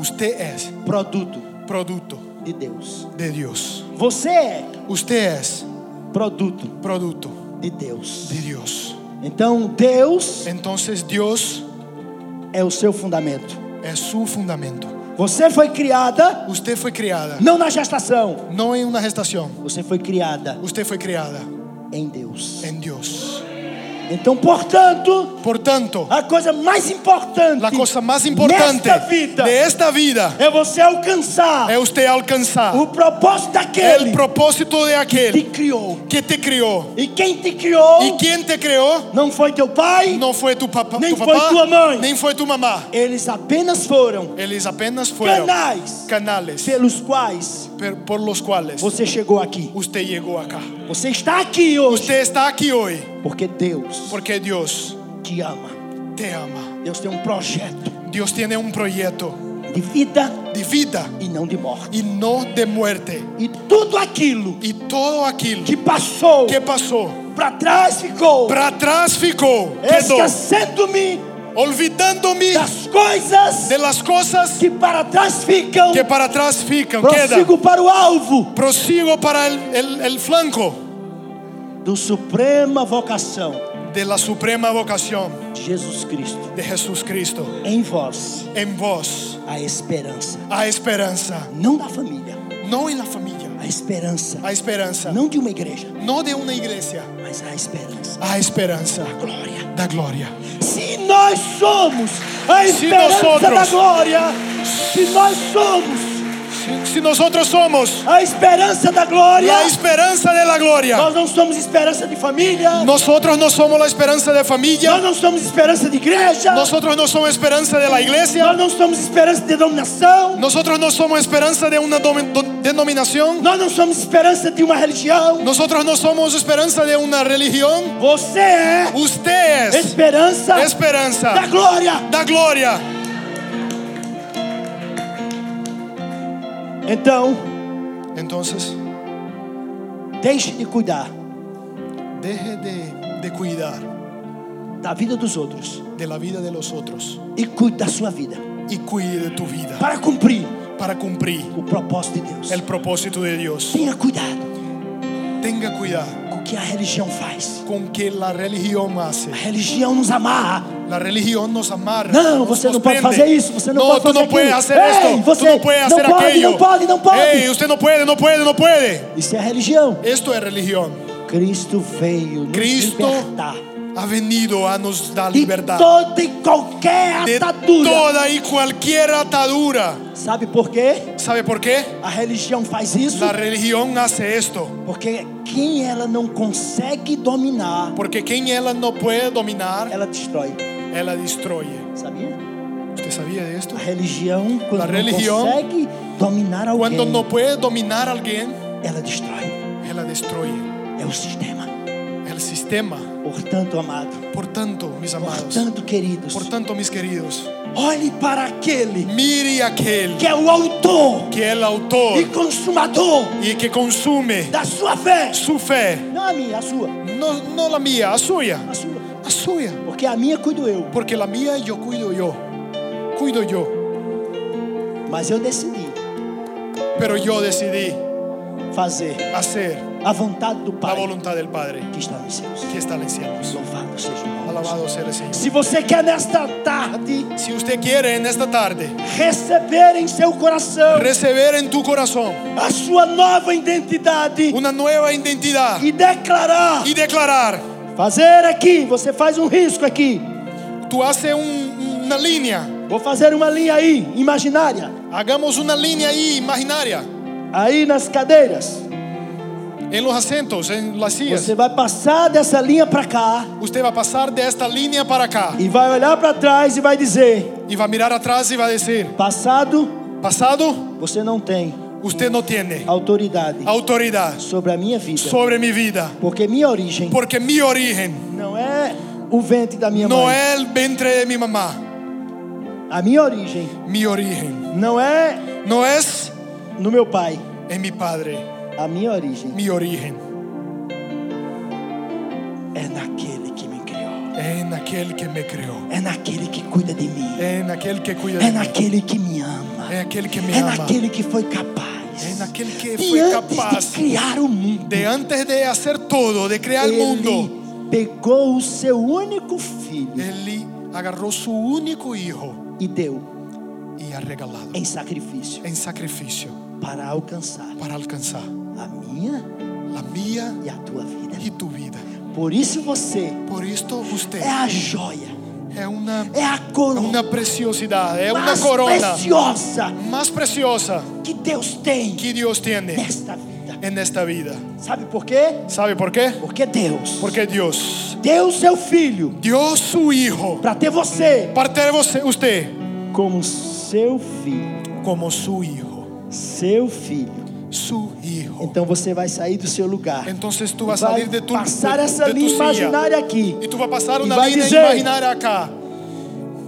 C: Usted es
B: produto
C: producto
B: de Deus.
C: de Dios.
B: Você é
C: Usted es
B: produto
C: producto
B: de Deus.
C: de Dios.
B: Então Deus
C: Entonces Dios
B: é o seu fundamento.
C: es su fundamento.
B: Você foi criada
C: Usted fue criada,
B: não na gestação.
C: no en una gestación.
B: Você foi criada
C: Usted fue criada
B: em Deus.
C: en Dios.
B: Então, portanto,
C: Por tanto,
B: a coisa mais importante
C: la cosa más importante
B: nesta vida
C: de esta vida
B: é você alcançar
C: es usted alcanzar
B: É o propósito daquele
C: el propósito de
B: que
C: aquel
B: te criou.
C: que te crió.
B: E quem te criou
C: ¿Y quien te crió?
B: não foi teu pai,
C: No fue tu papá,
B: Nem
C: tu
B: foi
C: papá,
B: tua mãe.
C: nem fue tu mamá.
B: eles apenas foram
C: Ellos apenas fueron
B: canais
C: canales
B: pelos quais
C: per- por los cuales
B: você chegou aqui.
C: usted llegó acá.
B: Você está aqui hoje
C: Usted está aquí hoy
B: porque Deus
C: porque Dios
B: te ama.
C: te ama.
B: Deus tem um projeto
C: Dios tiene un proyecto
B: de vida
C: de vida
B: e não de morte.
C: y no de muerte.
B: E tudo aquilo
C: Y todo aquello
B: que passou,
C: que pasó
B: para trás ficou,
C: para atrás ficó, quedó,
B: esquecendo-me
C: olvidándome
B: das coisas
C: de las cosas
B: que para trás ficam,
C: que para atrás fican, queda.
B: prossigo para o alvo
C: Prosigo para el, el- el flanco
B: do suprema vocação
C: de la suprema vocación
B: de Jesus Cristo.
C: de Jesús Cristo
B: Em vós
C: en vos.
B: a esperança,
C: A esperanza,
B: não da família,
C: no en la familia,
B: a esperança,
C: a esperanza,
B: não de uma igreja,
C: no de una iglesia,
B: mas a esperança.
C: a esperanza
B: da Glória.
C: da gloria.
B: Se nós somos a
C: Se
B: esperança
C: nós outros-
B: da glória, se nós somos
C: Si, si nosotros somos
B: a esperança da glória,
C: la esperanza de la gloria,
B: nós não somos esperança de família,
C: nosotros no somos la esperanza de
B: nós
C: familia,
B: não somos esperança de igreja,
C: nosotros no somos esperanza de la iglesia,
B: nós não somos esperança de denominação,
C: nosotros no somos esperanza de una domi- do- denominación,
B: nós não somos esperança de uma religião.
C: nosotros no somos esperanza de una religión.
B: Você é
C: Usted es
B: esperança da
C: esperanza
B: glória.
C: da gloria.
B: Então,
C: Entonces,
B: deixe de cuidar
C: deje de, de cuidar
B: da vida dos outros
C: de la vida de los otros
B: e cuide da sua vida
C: y cuide de tu vida
B: para cumprir
C: para cumplir
B: o propósito de Deus.
C: el propósito de Dios.
B: Tenha cuidado
C: Tenga cuidado
B: com o que a religião faz.
C: con que la religión hace.
B: A religião nos amarra.
C: La religión nos amarra.
B: Não,
C: nos
B: você não pode
C: prende.
B: fazer isso, você não
C: no,
B: pode
C: tú
B: fazer
C: no puedes
B: aquilo.
C: hacer
B: Ei,
C: esto.
B: você
C: tú no puedes
B: não
C: hacer
B: pode,
C: aquello.
B: não pode, não pode.
C: Ey, usted no puede, no puede, no puede.
B: Isso é a religião.
C: Esto es religión.
B: Cristo veio nos
C: Cristo
B: libertar
C: ha venido a nos dar
B: de
C: libertad.
B: toda e qualquer
C: de
B: atadura.
C: toda y cualquier atadura.
B: Sabe por quê?
C: ¿Sabe por qué?
B: A religión faz isso
C: La religión hace esto.
B: porque quem ela não consegue dominar,
C: Porque quien ella no puede dominar,
B: ela destrói.
C: ella destruye.
B: Sabia?
C: ¿Usted sabia de esto?
B: A religião, quando
C: A religião,
B: não consegue dominar alguém,
C: Cuando no puede dominar a alguien,
B: ela destrói.
C: ella destruye
B: É o sistema.
C: el sistema.
B: Portanto, amado,
C: Por tanto, mis amados,
B: portanto, queridos,
C: por tanto, mis queridos,
B: olhe para aquele
C: mire aquel
B: que é o autor
C: que el
B: e
C: autor
B: consumador
C: y que consume
B: da sua fé.
C: su fe,
B: Não a minha, a sua.
C: no, no la mía, a suya,
B: A sua.
C: a suya.
B: Porque a minha cuido eu.
C: Porque la mía yo cuido yo, cuido yo.
B: Mas eu decidi
C: Pero yo decidí
B: fazer
C: hacer
B: a vontade do
C: la
B: Pai
C: voluntad del Padre
B: que está nos céus.
C: que está en los cielos.
B: Louvado seja o nome. do Senhor.
C: Alabado sea el Señor.
B: Se você quer nesta tarde
C: Si usted quiere en esta tarde
B: receber em seu coração
C: recibir en tu corazón
B: a sua nova identidade
C: una nueva identidad
B: e declarar,
C: y declarar,
B: fazer aqui, você faz um risco aqui.
C: tú haces un- una línea,
B: Vou fazer uma linha aí, imaginária,
C: hagamos una línea ahí imaginaria
B: aí nas cadeiras.
C: en los acentos, en las sillas.
B: Você vai passar dessa linha para cá
C: Usted va a pasar de esta línea para acá
B: e vai olhar para trás e vai dizer:
C: y va a mirar atrás y va a decir,
B: "Passado,
C: pasado,
B: você não tem
C: usted no tiene
B: autoridade
C: autoridad
B: sobre a minha vida,
C: sobre mi vida,
B: porque minha origem
C: porque mi origen
B: não é o ventre da minha
C: No
B: mãe.
C: é el ventre de mi mamá,
B: A minha origem
C: mi origen.
B: não é
C: No es
B: no meu pai.
C: en mi padre,
B: A minha origem
C: mi origen.
B: é naquele que me criou.
C: En aquel que me creó.
B: É naquele que cuida de mim.
C: En aquel que cuida
B: É
C: de mí.
B: naquele que me ama.
C: En aquel que me
B: É
C: ama.
B: naquele que foi capaz.
C: En aquel que
B: de
C: fue
B: antes de
C: capaz
B: criar o mundo.
C: de antes de hacer todo, de crear el mundo.
B: Ele pegou o seu único filho
C: Él agarró su único hijo
B: e deu
C: y ha regalado
B: em sacrifício
C: en sacrificio
B: para alcançar
C: para alcanzar
B: a minha
C: la mía
B: e a tua vida.
C: y tu vida.
B: Por isso você
C: Por esto usted
B: é a joia,
C: es una,
B: é a coroa
C: una preciosidad, es una
B: mais
C: é corona
B: preciosa
C: más preciosa
B: que Deus tem
C: que Dios tiene
B: nesta vida.
C: en esta vida.
B: Sabe por quê?
C: ¿Sabe por qué?
B: Porque Deus
C: Porque Dios
B: deu o seu filho
C: dio su Hijo,
B: para ter você
C: parte de você- usted,
B: como seu filho,
C: como su Hijo.
B: seu filho.
C: Su Hijo.
B: Então você vai sair do seu lugar.
C: Entonces tú vas a
B: vai
C: salir Então de tu,
B: passar
C: de-
B: essa
C: de tu
B: linha
C: silla
B: imaginária aqui.
C: y tú vas a pasar
B: Y
C: una
B: va a
C: línea
B: decir,
C: imaginaria acá.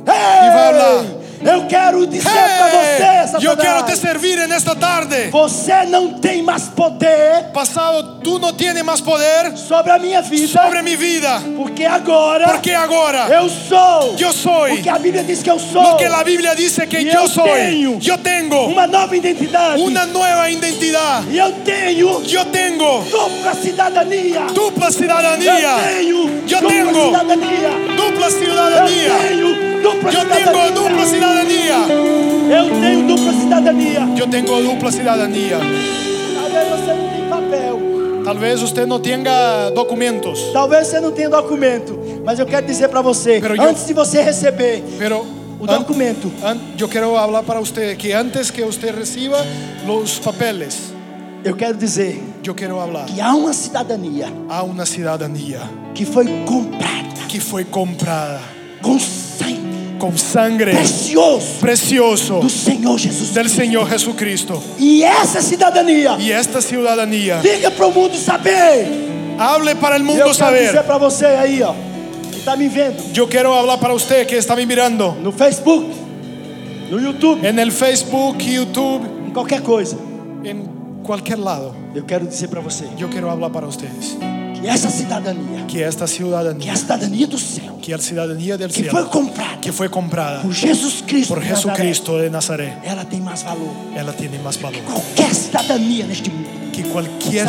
B: Ei, eu quero dizer para
C: ¡Hey!
B: você,
C: Yo quiero te
B: Satanás,
C: servir en esta tarde.
B: você não tem mais poder
C: Pasado, tú no tienes más poder
B: sobre a minha vida,
C: sobre mi vida.
B: porque agora
C: Porque agora
B: eu sou
C: eu sou
B: o que a Bíblia diz que eu sou,
C: lo que la Biblia dice que
B: Y
C: yo
B: yo
C: soy.
B: tengo
C: Yo tengo
B: uma nova identidade,
C: una nueva identidad.
B: e eu tenho
C: Yo tengo
B: dupla cidadania,
C: dupla
B: eu
C: ciudadanía.
B: tenho
C: Yo
B: dupla
C: tengo.
B: cidadania,
C: Dupla
B: eu
C: ciudadanía.
B: tenho dupla
C: Yo
B: cidadania,
C: tengo dupla ciudadanía.
B: eu tenho dupla cidadania,
C: Yo tengo dupla ciudadanía.
B: talvez você não tenha papel,
C: Tal vez usted no tenga documentos,
B: Talvez você não tenha documento, mas eu quero dizer para você,
C: Pero eu-
B: antes de você receber
C: pero
B: o
C: an-
B: documento,
C: an- yo quiero hablar para usted que antes que usted reciba los papeles,
B: eu quero dizer
C: yo quiero hablar
B: que há uma cidadania
C: a una ciudadanía
B: que foi comprada
C: que fue comprada
B: com sangue
C: con sangre
B: precioso
C: precioso
B: do Senhor Jesus.
C: del Señor Jesucristo.
B: E essa é cidadania,
C: Y esta ciudadanía
B: diga para o mundo saber.
C: hable para el
B: E
C: mundo
B: eu quero dizer
C: saber.
B: para você aí, ó, que tá me vendo
C: Yo quiero hablar para usted que está me mirando
B: no Facebook, no YouTube,
C: en el Facebook, YouTube,
B: em qualquer coisa.
C: en cualquier lado.
B: Eu quero dizer para você
C: Yo quiero hablar para ustedes
B: que essa cidadania,
C: que esta
B: que
C: ciudadanía,
B: é a cidadania do céu,
C: que la ciudadanía del
B: que foi
C: cielo,
B: comprada
C: que fue comprada
B: por Jesus Cristo.
C: por
B: de Nazaré.
C: Jesucristo de Nazaret,
B: ela tem mais valor.
C: ella tiene más valor
B: Qualquer cidadania neste mundo.
C: que cualquier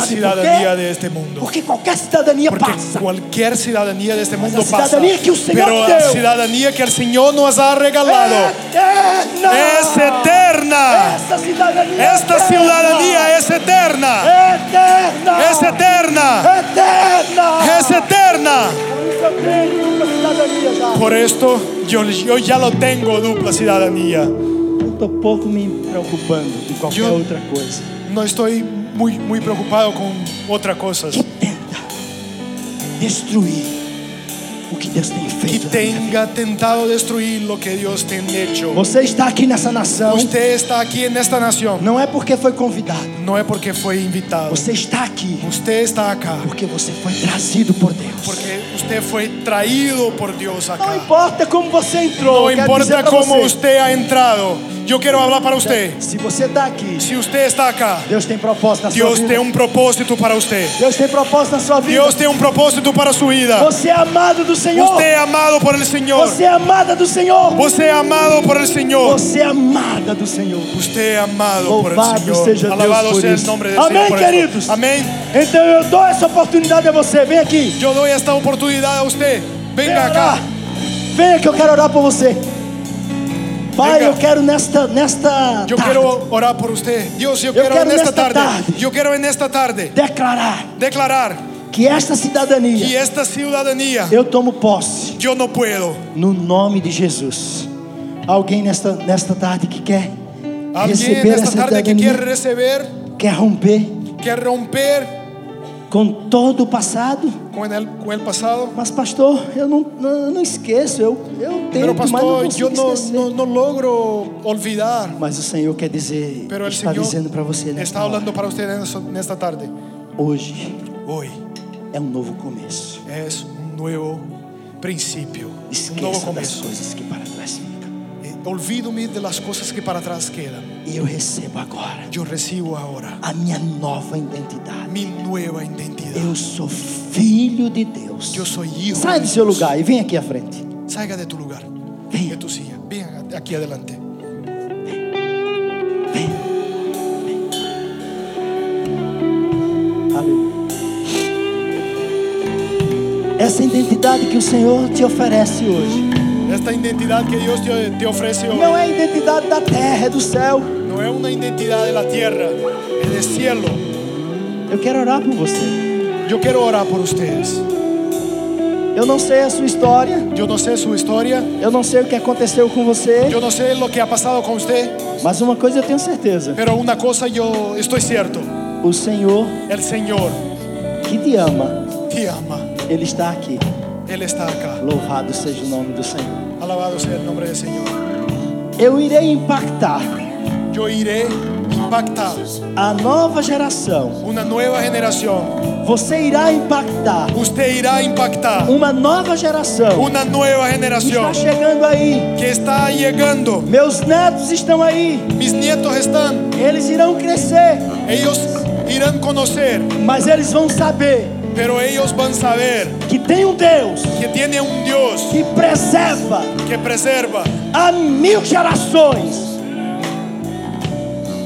B: ¿Sabe por qué?
C: ciudadanía de este é mundo.
B: Porque qualquer cidadania
C: Porque
B: passa.
C: cualquier ciudadanía de este mundo
B: la
C: pasa.
B: ciudadanía que el Señor
C: Pero la
B: te dio.
C: ciudadanía que el Señor nos ha regalado
B: É, eterna.
C: es eterna.
B: Essa cidadania.
C: Esta
B: Eh, é eterna.
C: é
B: Eh,
C: ciudadanía es eterna.
B: eterna.
C: Es
B: eh.
C: eterna.
B: eterna.
C: Es é eterna.
B: Por isso eu tenho uma cidadania é já.
C: Por esto yo, yo ya lo tengo, dupla ciudadanía.
B: Eu tô pouco me preocupando com qualquer
C: Eu-
B: outra coisa.
C: No estoy muy, muy preocupado con otras cosas.
B: Que tenta destruir o que Deus tem
C: Que
B: feito. na minha vida.
C: tenga tentado destruir lo que Dios te ha hecho.
B: Você está aqui nessa nação.
C: Usted está aquí en esta nación.
B: Não é porque foi convidado.
C: No es porque fue invitado.
B: Você está aqui.
C: Usted está acá.
B: Porque você foi trazido por Deus.
C: Porque usted fue traído por Dios
B: não
C: acá.
B: importa como você entrou.
C: No
B: eu quero dizer pra
C: importa cómo
B: você,
C: usted ha entrado. Yo quiero hablar para usted.
B: Se você está aqui,
C: Si usted está acá,
B: Deus tem um propósito na sua
C: Dios
B: vida.
C: tiene un propósito para usted.
B: Deus tem propósito na sua vida.
C: Dios tiene un propósito para su vida.
B: Você é amado do Senhor.
C: Usted es amado por el Señor.
B: Você é amada do Senhor.
C: Usted es amado por el Señor.
B: Você é amada do Senhor.
C: Usted es amado por el
B: Louvado seja
C: Señor.
B: Deus
C: Alabado
B: por
C: sea el
B: isso.
C: nombre de
B: Amén,
C: Señor. por eso.
B: queridos.
C: Amén.
B: Então eu dou essa oportunidade a você. Vem aqui.
C: Yo doy esta oportunidad a usted.
B: Vem
C: Venga
B: orar.
C: acá.
B: Venha que eu quero orar por você. Pai,
C: Venga.
B: eu quero nesta nesta
C: Yo
B: tarde
C: quiero orar por usted. Dios, yo
B: Yo
C: quiero
B: quiero
C: en esta
B: esta
C: tarde.
B: tarde.
C: Yo quiero en esta tarde
B: declarar
C: declarar
B: que esta cidadania
C: Y esta ciudadanía
B: Eu tomo posse
C: yo no puedo.
B: no nome de Jesus. Alguém nesta, nesta tarde que quer
C: Alguien en
B: receber
C: esta
B: essa
C: tarde que
B: cidadania,
C: quiere recibir,
B: quer romper
C: que romper
B: com todo o passado.
C: con el, con el pasado.
B: Mas pastor, eu não, não, eu não esqueço, eu, eu
C: Pero
B: tento, mas não
C: pastor, yo
B: consigo
C: no,
B: esquecer.
C: no, no logro olvidar.
B: Mas o Senhor quer dizer,
C: Pero el
B: está
C: Señor
B: dizendo para você nesta
C: está
B: hora,
C: hablando para usted en eso- en esta tarde.
B: hoje
C: Hoy
B: é um novo começo.
C: es un nuevo principio, un nuevo
B: Esqueça das
C: comienzo.
B: coisas que para trás ficam.
C: Eh, Olvídome de las cosas que para atrás quedan.
B: E eu recebo agora
C: Yo recibo ahora
B: a minha nova identidade.
C: mi nueva identidad.
B: Eu sou filho de Deus.
C: Yo soy hijo.
B: Sai
C: de
B: do seu
C: Dios.
B: lugar e vem aqui à frente.
C: Salga de tu lugar, de
B: Venha,
C: tu silla. Ven aquí adelante.
B: venha. Aleluia. Essa identidade que o Senhor te oferece hoje
C: Esta identidad que Dios te, te ofrece hoy
B: não é a identidade da terra, é do céu.
C: no es una identidad de la tierra, es del cielo.
B: Eu quero orar por você.
C: Yo quiero orar por ustedes.
B: Eu não sei a sua história,
C: Yo no sé su historia,
B: eu não sei o que aconteceu com você,
C: yo no sé lo que ha pasado con usted,
B: mas uma coisa eu tenho certeza:
C: pero una cosa yo estoy cierto.
B: o Senhor
C: El Señor
B: que te ama,
C: te ama.
B: Ele está aqui.
C: Él está acá.
B: Louvado seja o nome do Senhor.
C: Alabado sea el nombre del Señor.
B: Eu irei impactar
C: Yo iré impactar
B: a nova geração.
C: una nueva generación.
B: Você irá impactar
C: Usted irá a impactar
B: uma nova geração.
C: una nueva
B: Está
C: generación
B: chegando aí.
C: que está llegando.
B: Meus netos estão aí.
C: Mis nietos están.
B: Eles irão crescer,
C: Ellos irán conocer,
B: mas eles vão saber
C: pero ellos van a saber
B: que tem um Deus
C: que tiene un Dios
B: que preserva
C: que preserva,
B: há mil gerações.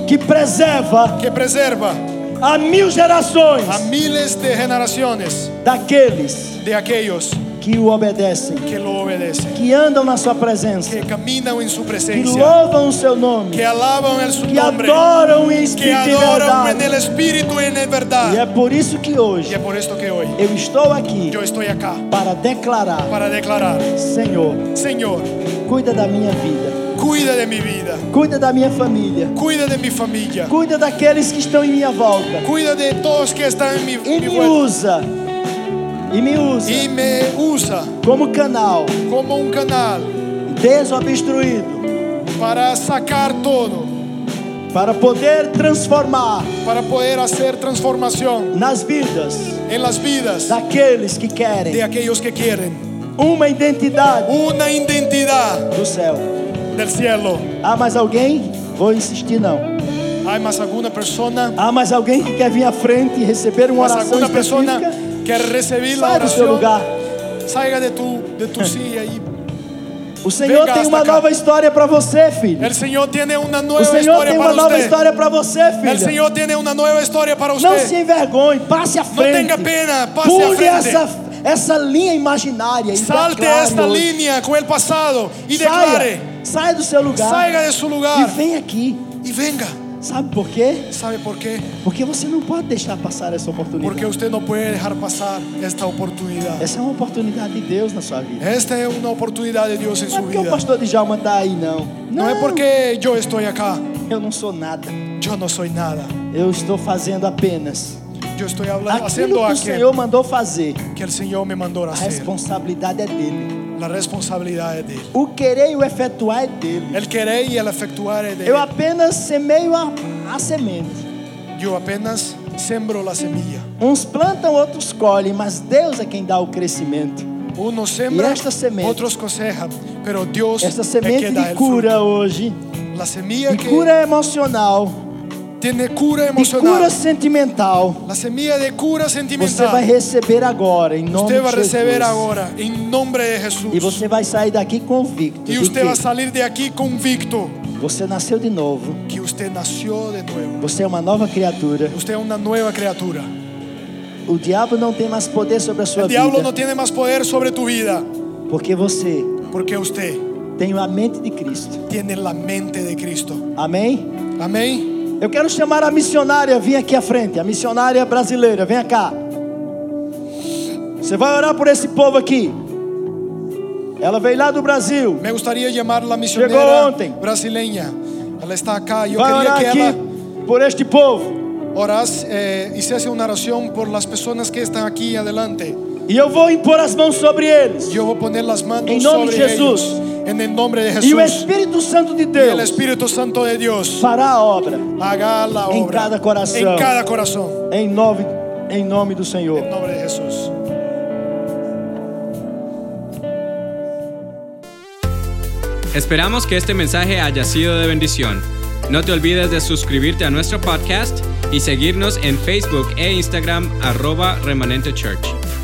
B: Que preserva
C: que preserva
B: há mil
C: a
B: gerações
C: miles de generaciones
B: daqueles
C: de aquellos
B: que o obedecem,
C: que lo obedecen,
B: que andam na sua presença,
C: que caminan en su
B: que
C: presencia,
B: louvam o seu nome,
C: que alaban el su
B: que
C: nombre,
B: adoram em
C: que
B: espírito e
C: adoran en
B: verdade.
C: el espíritu y en
B: E
C: el
B: é
C: verdad.
B: por isso que
C: Y
B: hoje
C: es por esto que hoy
B: eu estou aqui
C: yo estoy acá
B: para declarar:
C: para declarar,
B: Senhor,
C: Señor,
B: cuida da minha vida,
C: cuida de mi vida,
B: cuida da minha família,
C: cuida de mi familia,
B: cuida daqueles que estão em minha volta
C: cuida de todos que están en mi,
B: e
C: mi
B: me
C: vuelta
B: usa, e me usa
C: y me usa
B: como canal
C: como un canal
B: desobstruído
C: para sacar todo,
B: para poder transformar
C: para poder hacer transformación
B: nas vidas
C: en las vidas
B: daqueles que
C: de
B: querem
C: aquellos que quieren
B: uma identidade
C: una identidad
B: do céu.
C: del cielo.
B: Há mais alguém? Vou insistir não.
C: Hay más alguna persona,
B: Há mais alguém que quer vir à frente e receber uma
C: más
B: oração
C: alguna persona
B: específica?
C: né? que recibir la
B: Sai do seu
C: oración,
B: lugar.
C: salga de tu de tu silla y
B: O Senhor
C: Venga
B: tem
C: hasta
B: uma
C: acá.
B: nova história para você, filho.
C: el Señor tiene una
B: O
C: nueva
B: Senhor
C: historia
B: tem uma
C: para
B: nova
C: usted.
B: história para você,
C: El
B: filho.
C: Señor tiene una nueva historia para
B: Não se
C: usted.
B: envergonhe, passe à
C: No
B: frente.
C: tenga pena, pase a
B: Pule
C: frente.
B: essa, essa linha imaginária e
C: Salte
B: declare
C: esta
B: hoje.
C: línea con el pasado y declare,
B: Saia, saia do seu lugar
C: salga de su
B: e
C: lugar
B: vem aquí.
C: y venga.
B: Sabe por quê?
C: ¿Sabe por qué?
B: Porque você não pode deixar passar essa oportunidade.
C: Porque usted no puede dejar pasar esta oportunidad.
B: Essa é uma oportunidade de Deus na sua vida.
C: Esta es una oportunidad de Dios en
B: Não é
C: su
B: porque o
C: vida.
B: pastor de Djalma tá aí, não.
C: No es é porque yo estoy acá.
B: eu não sou nada.
C: Yo no soy nada.
B: Eu estou fazendo apenas
C: Yo estoy hablando,
B: aquilo
C: haciendo
B: que o
C: aquello
B: Senhor mandou fazer.
C: que el Señor me mandó a
B: A
C: hacer.
B: responsabilidade é dele.
C: La responsabilidad es de Él.
B: O querer e o efetuar é dele.
C: El querer y el efectuar es de Él.
B: Eu apenas semeio a, a semente.
C: Yo apenas sembro la semilla.
B: Uns plantam, outros colhem, mas Deus é quem dá o crescimento.
C: Unos sembran,
B: esta semente-
C: otros cosejan. Pero Dios
B: Essa
C: es que
B: semente
C: da
B: de
C: el fruto.
B: cura hoje,
C: La semilla
B: de
C: que
B: cura emocional,
C: tiene cura
B: de cura
C: emocional.
B: sentimental,
C: La semilla de cura
B: você vai
C: sentimental.
B: receber agora, em nome
C: Usted va a
B: de
C: recibir
B: Jesus.
C: ahora en nombre de
B: E
C: Jesús.
B: você vai sair daqui convicto.
C: Y
B: de
C: usted va a
B: que
C: salir de aquí convicto
B: Você nasceu de novo.
C: que usted nació de nuevo.
B: Você é uma nova criatura.
C: Usted es una nueva criatura.
B: O diabo não tem mais poder sobre a sua
C: El diablo no
B: vida,
C: tiene más poder sobre tu vida
B: porque você
C: porque usted
B: tem a mente de Cristo.
C: tiene la mente de Cristo.
B: Amém?
C: Amén.
B: Eu quero chamar a missionária, vem aqui à frente, a missionária brasileira, vem cá. Você vai orar por esse povo aqui. Ela veio lá do Brasil.
C: Me gustaría llamar a la misionera
B: ontem.
C: brasileña. Ella está acá. Yo
B: Vai
C: quería
B: orar
C: que
B: aqui
C: ella
B: por este povo.
C: orase eh, hiciese una oración por las personas que están aquí adelante.
B: E eu vou impor as mãos sobre eles.
C: Yo voy a poner las manos
B: Em nome
C: sobre
B: de Jesus.
C: ellos. En el nombre de
B: E o
C: Jesús.
B: Espírito Santo de
C: Y el
B: Deus
C: Espíritu Santo de Dios
B: fará a obra.
C: haga la obra
B: En cada corazón.
C: En cada corazón.
B: Em nome, em nome do Senhor.
C: En nombre de Jesús.
A: Esperamos que este mensaje haya sido de bendición. No te olvides de suscribirte a nuestro podcast y seguirnos en Facebook e Instagram arroba remanente church.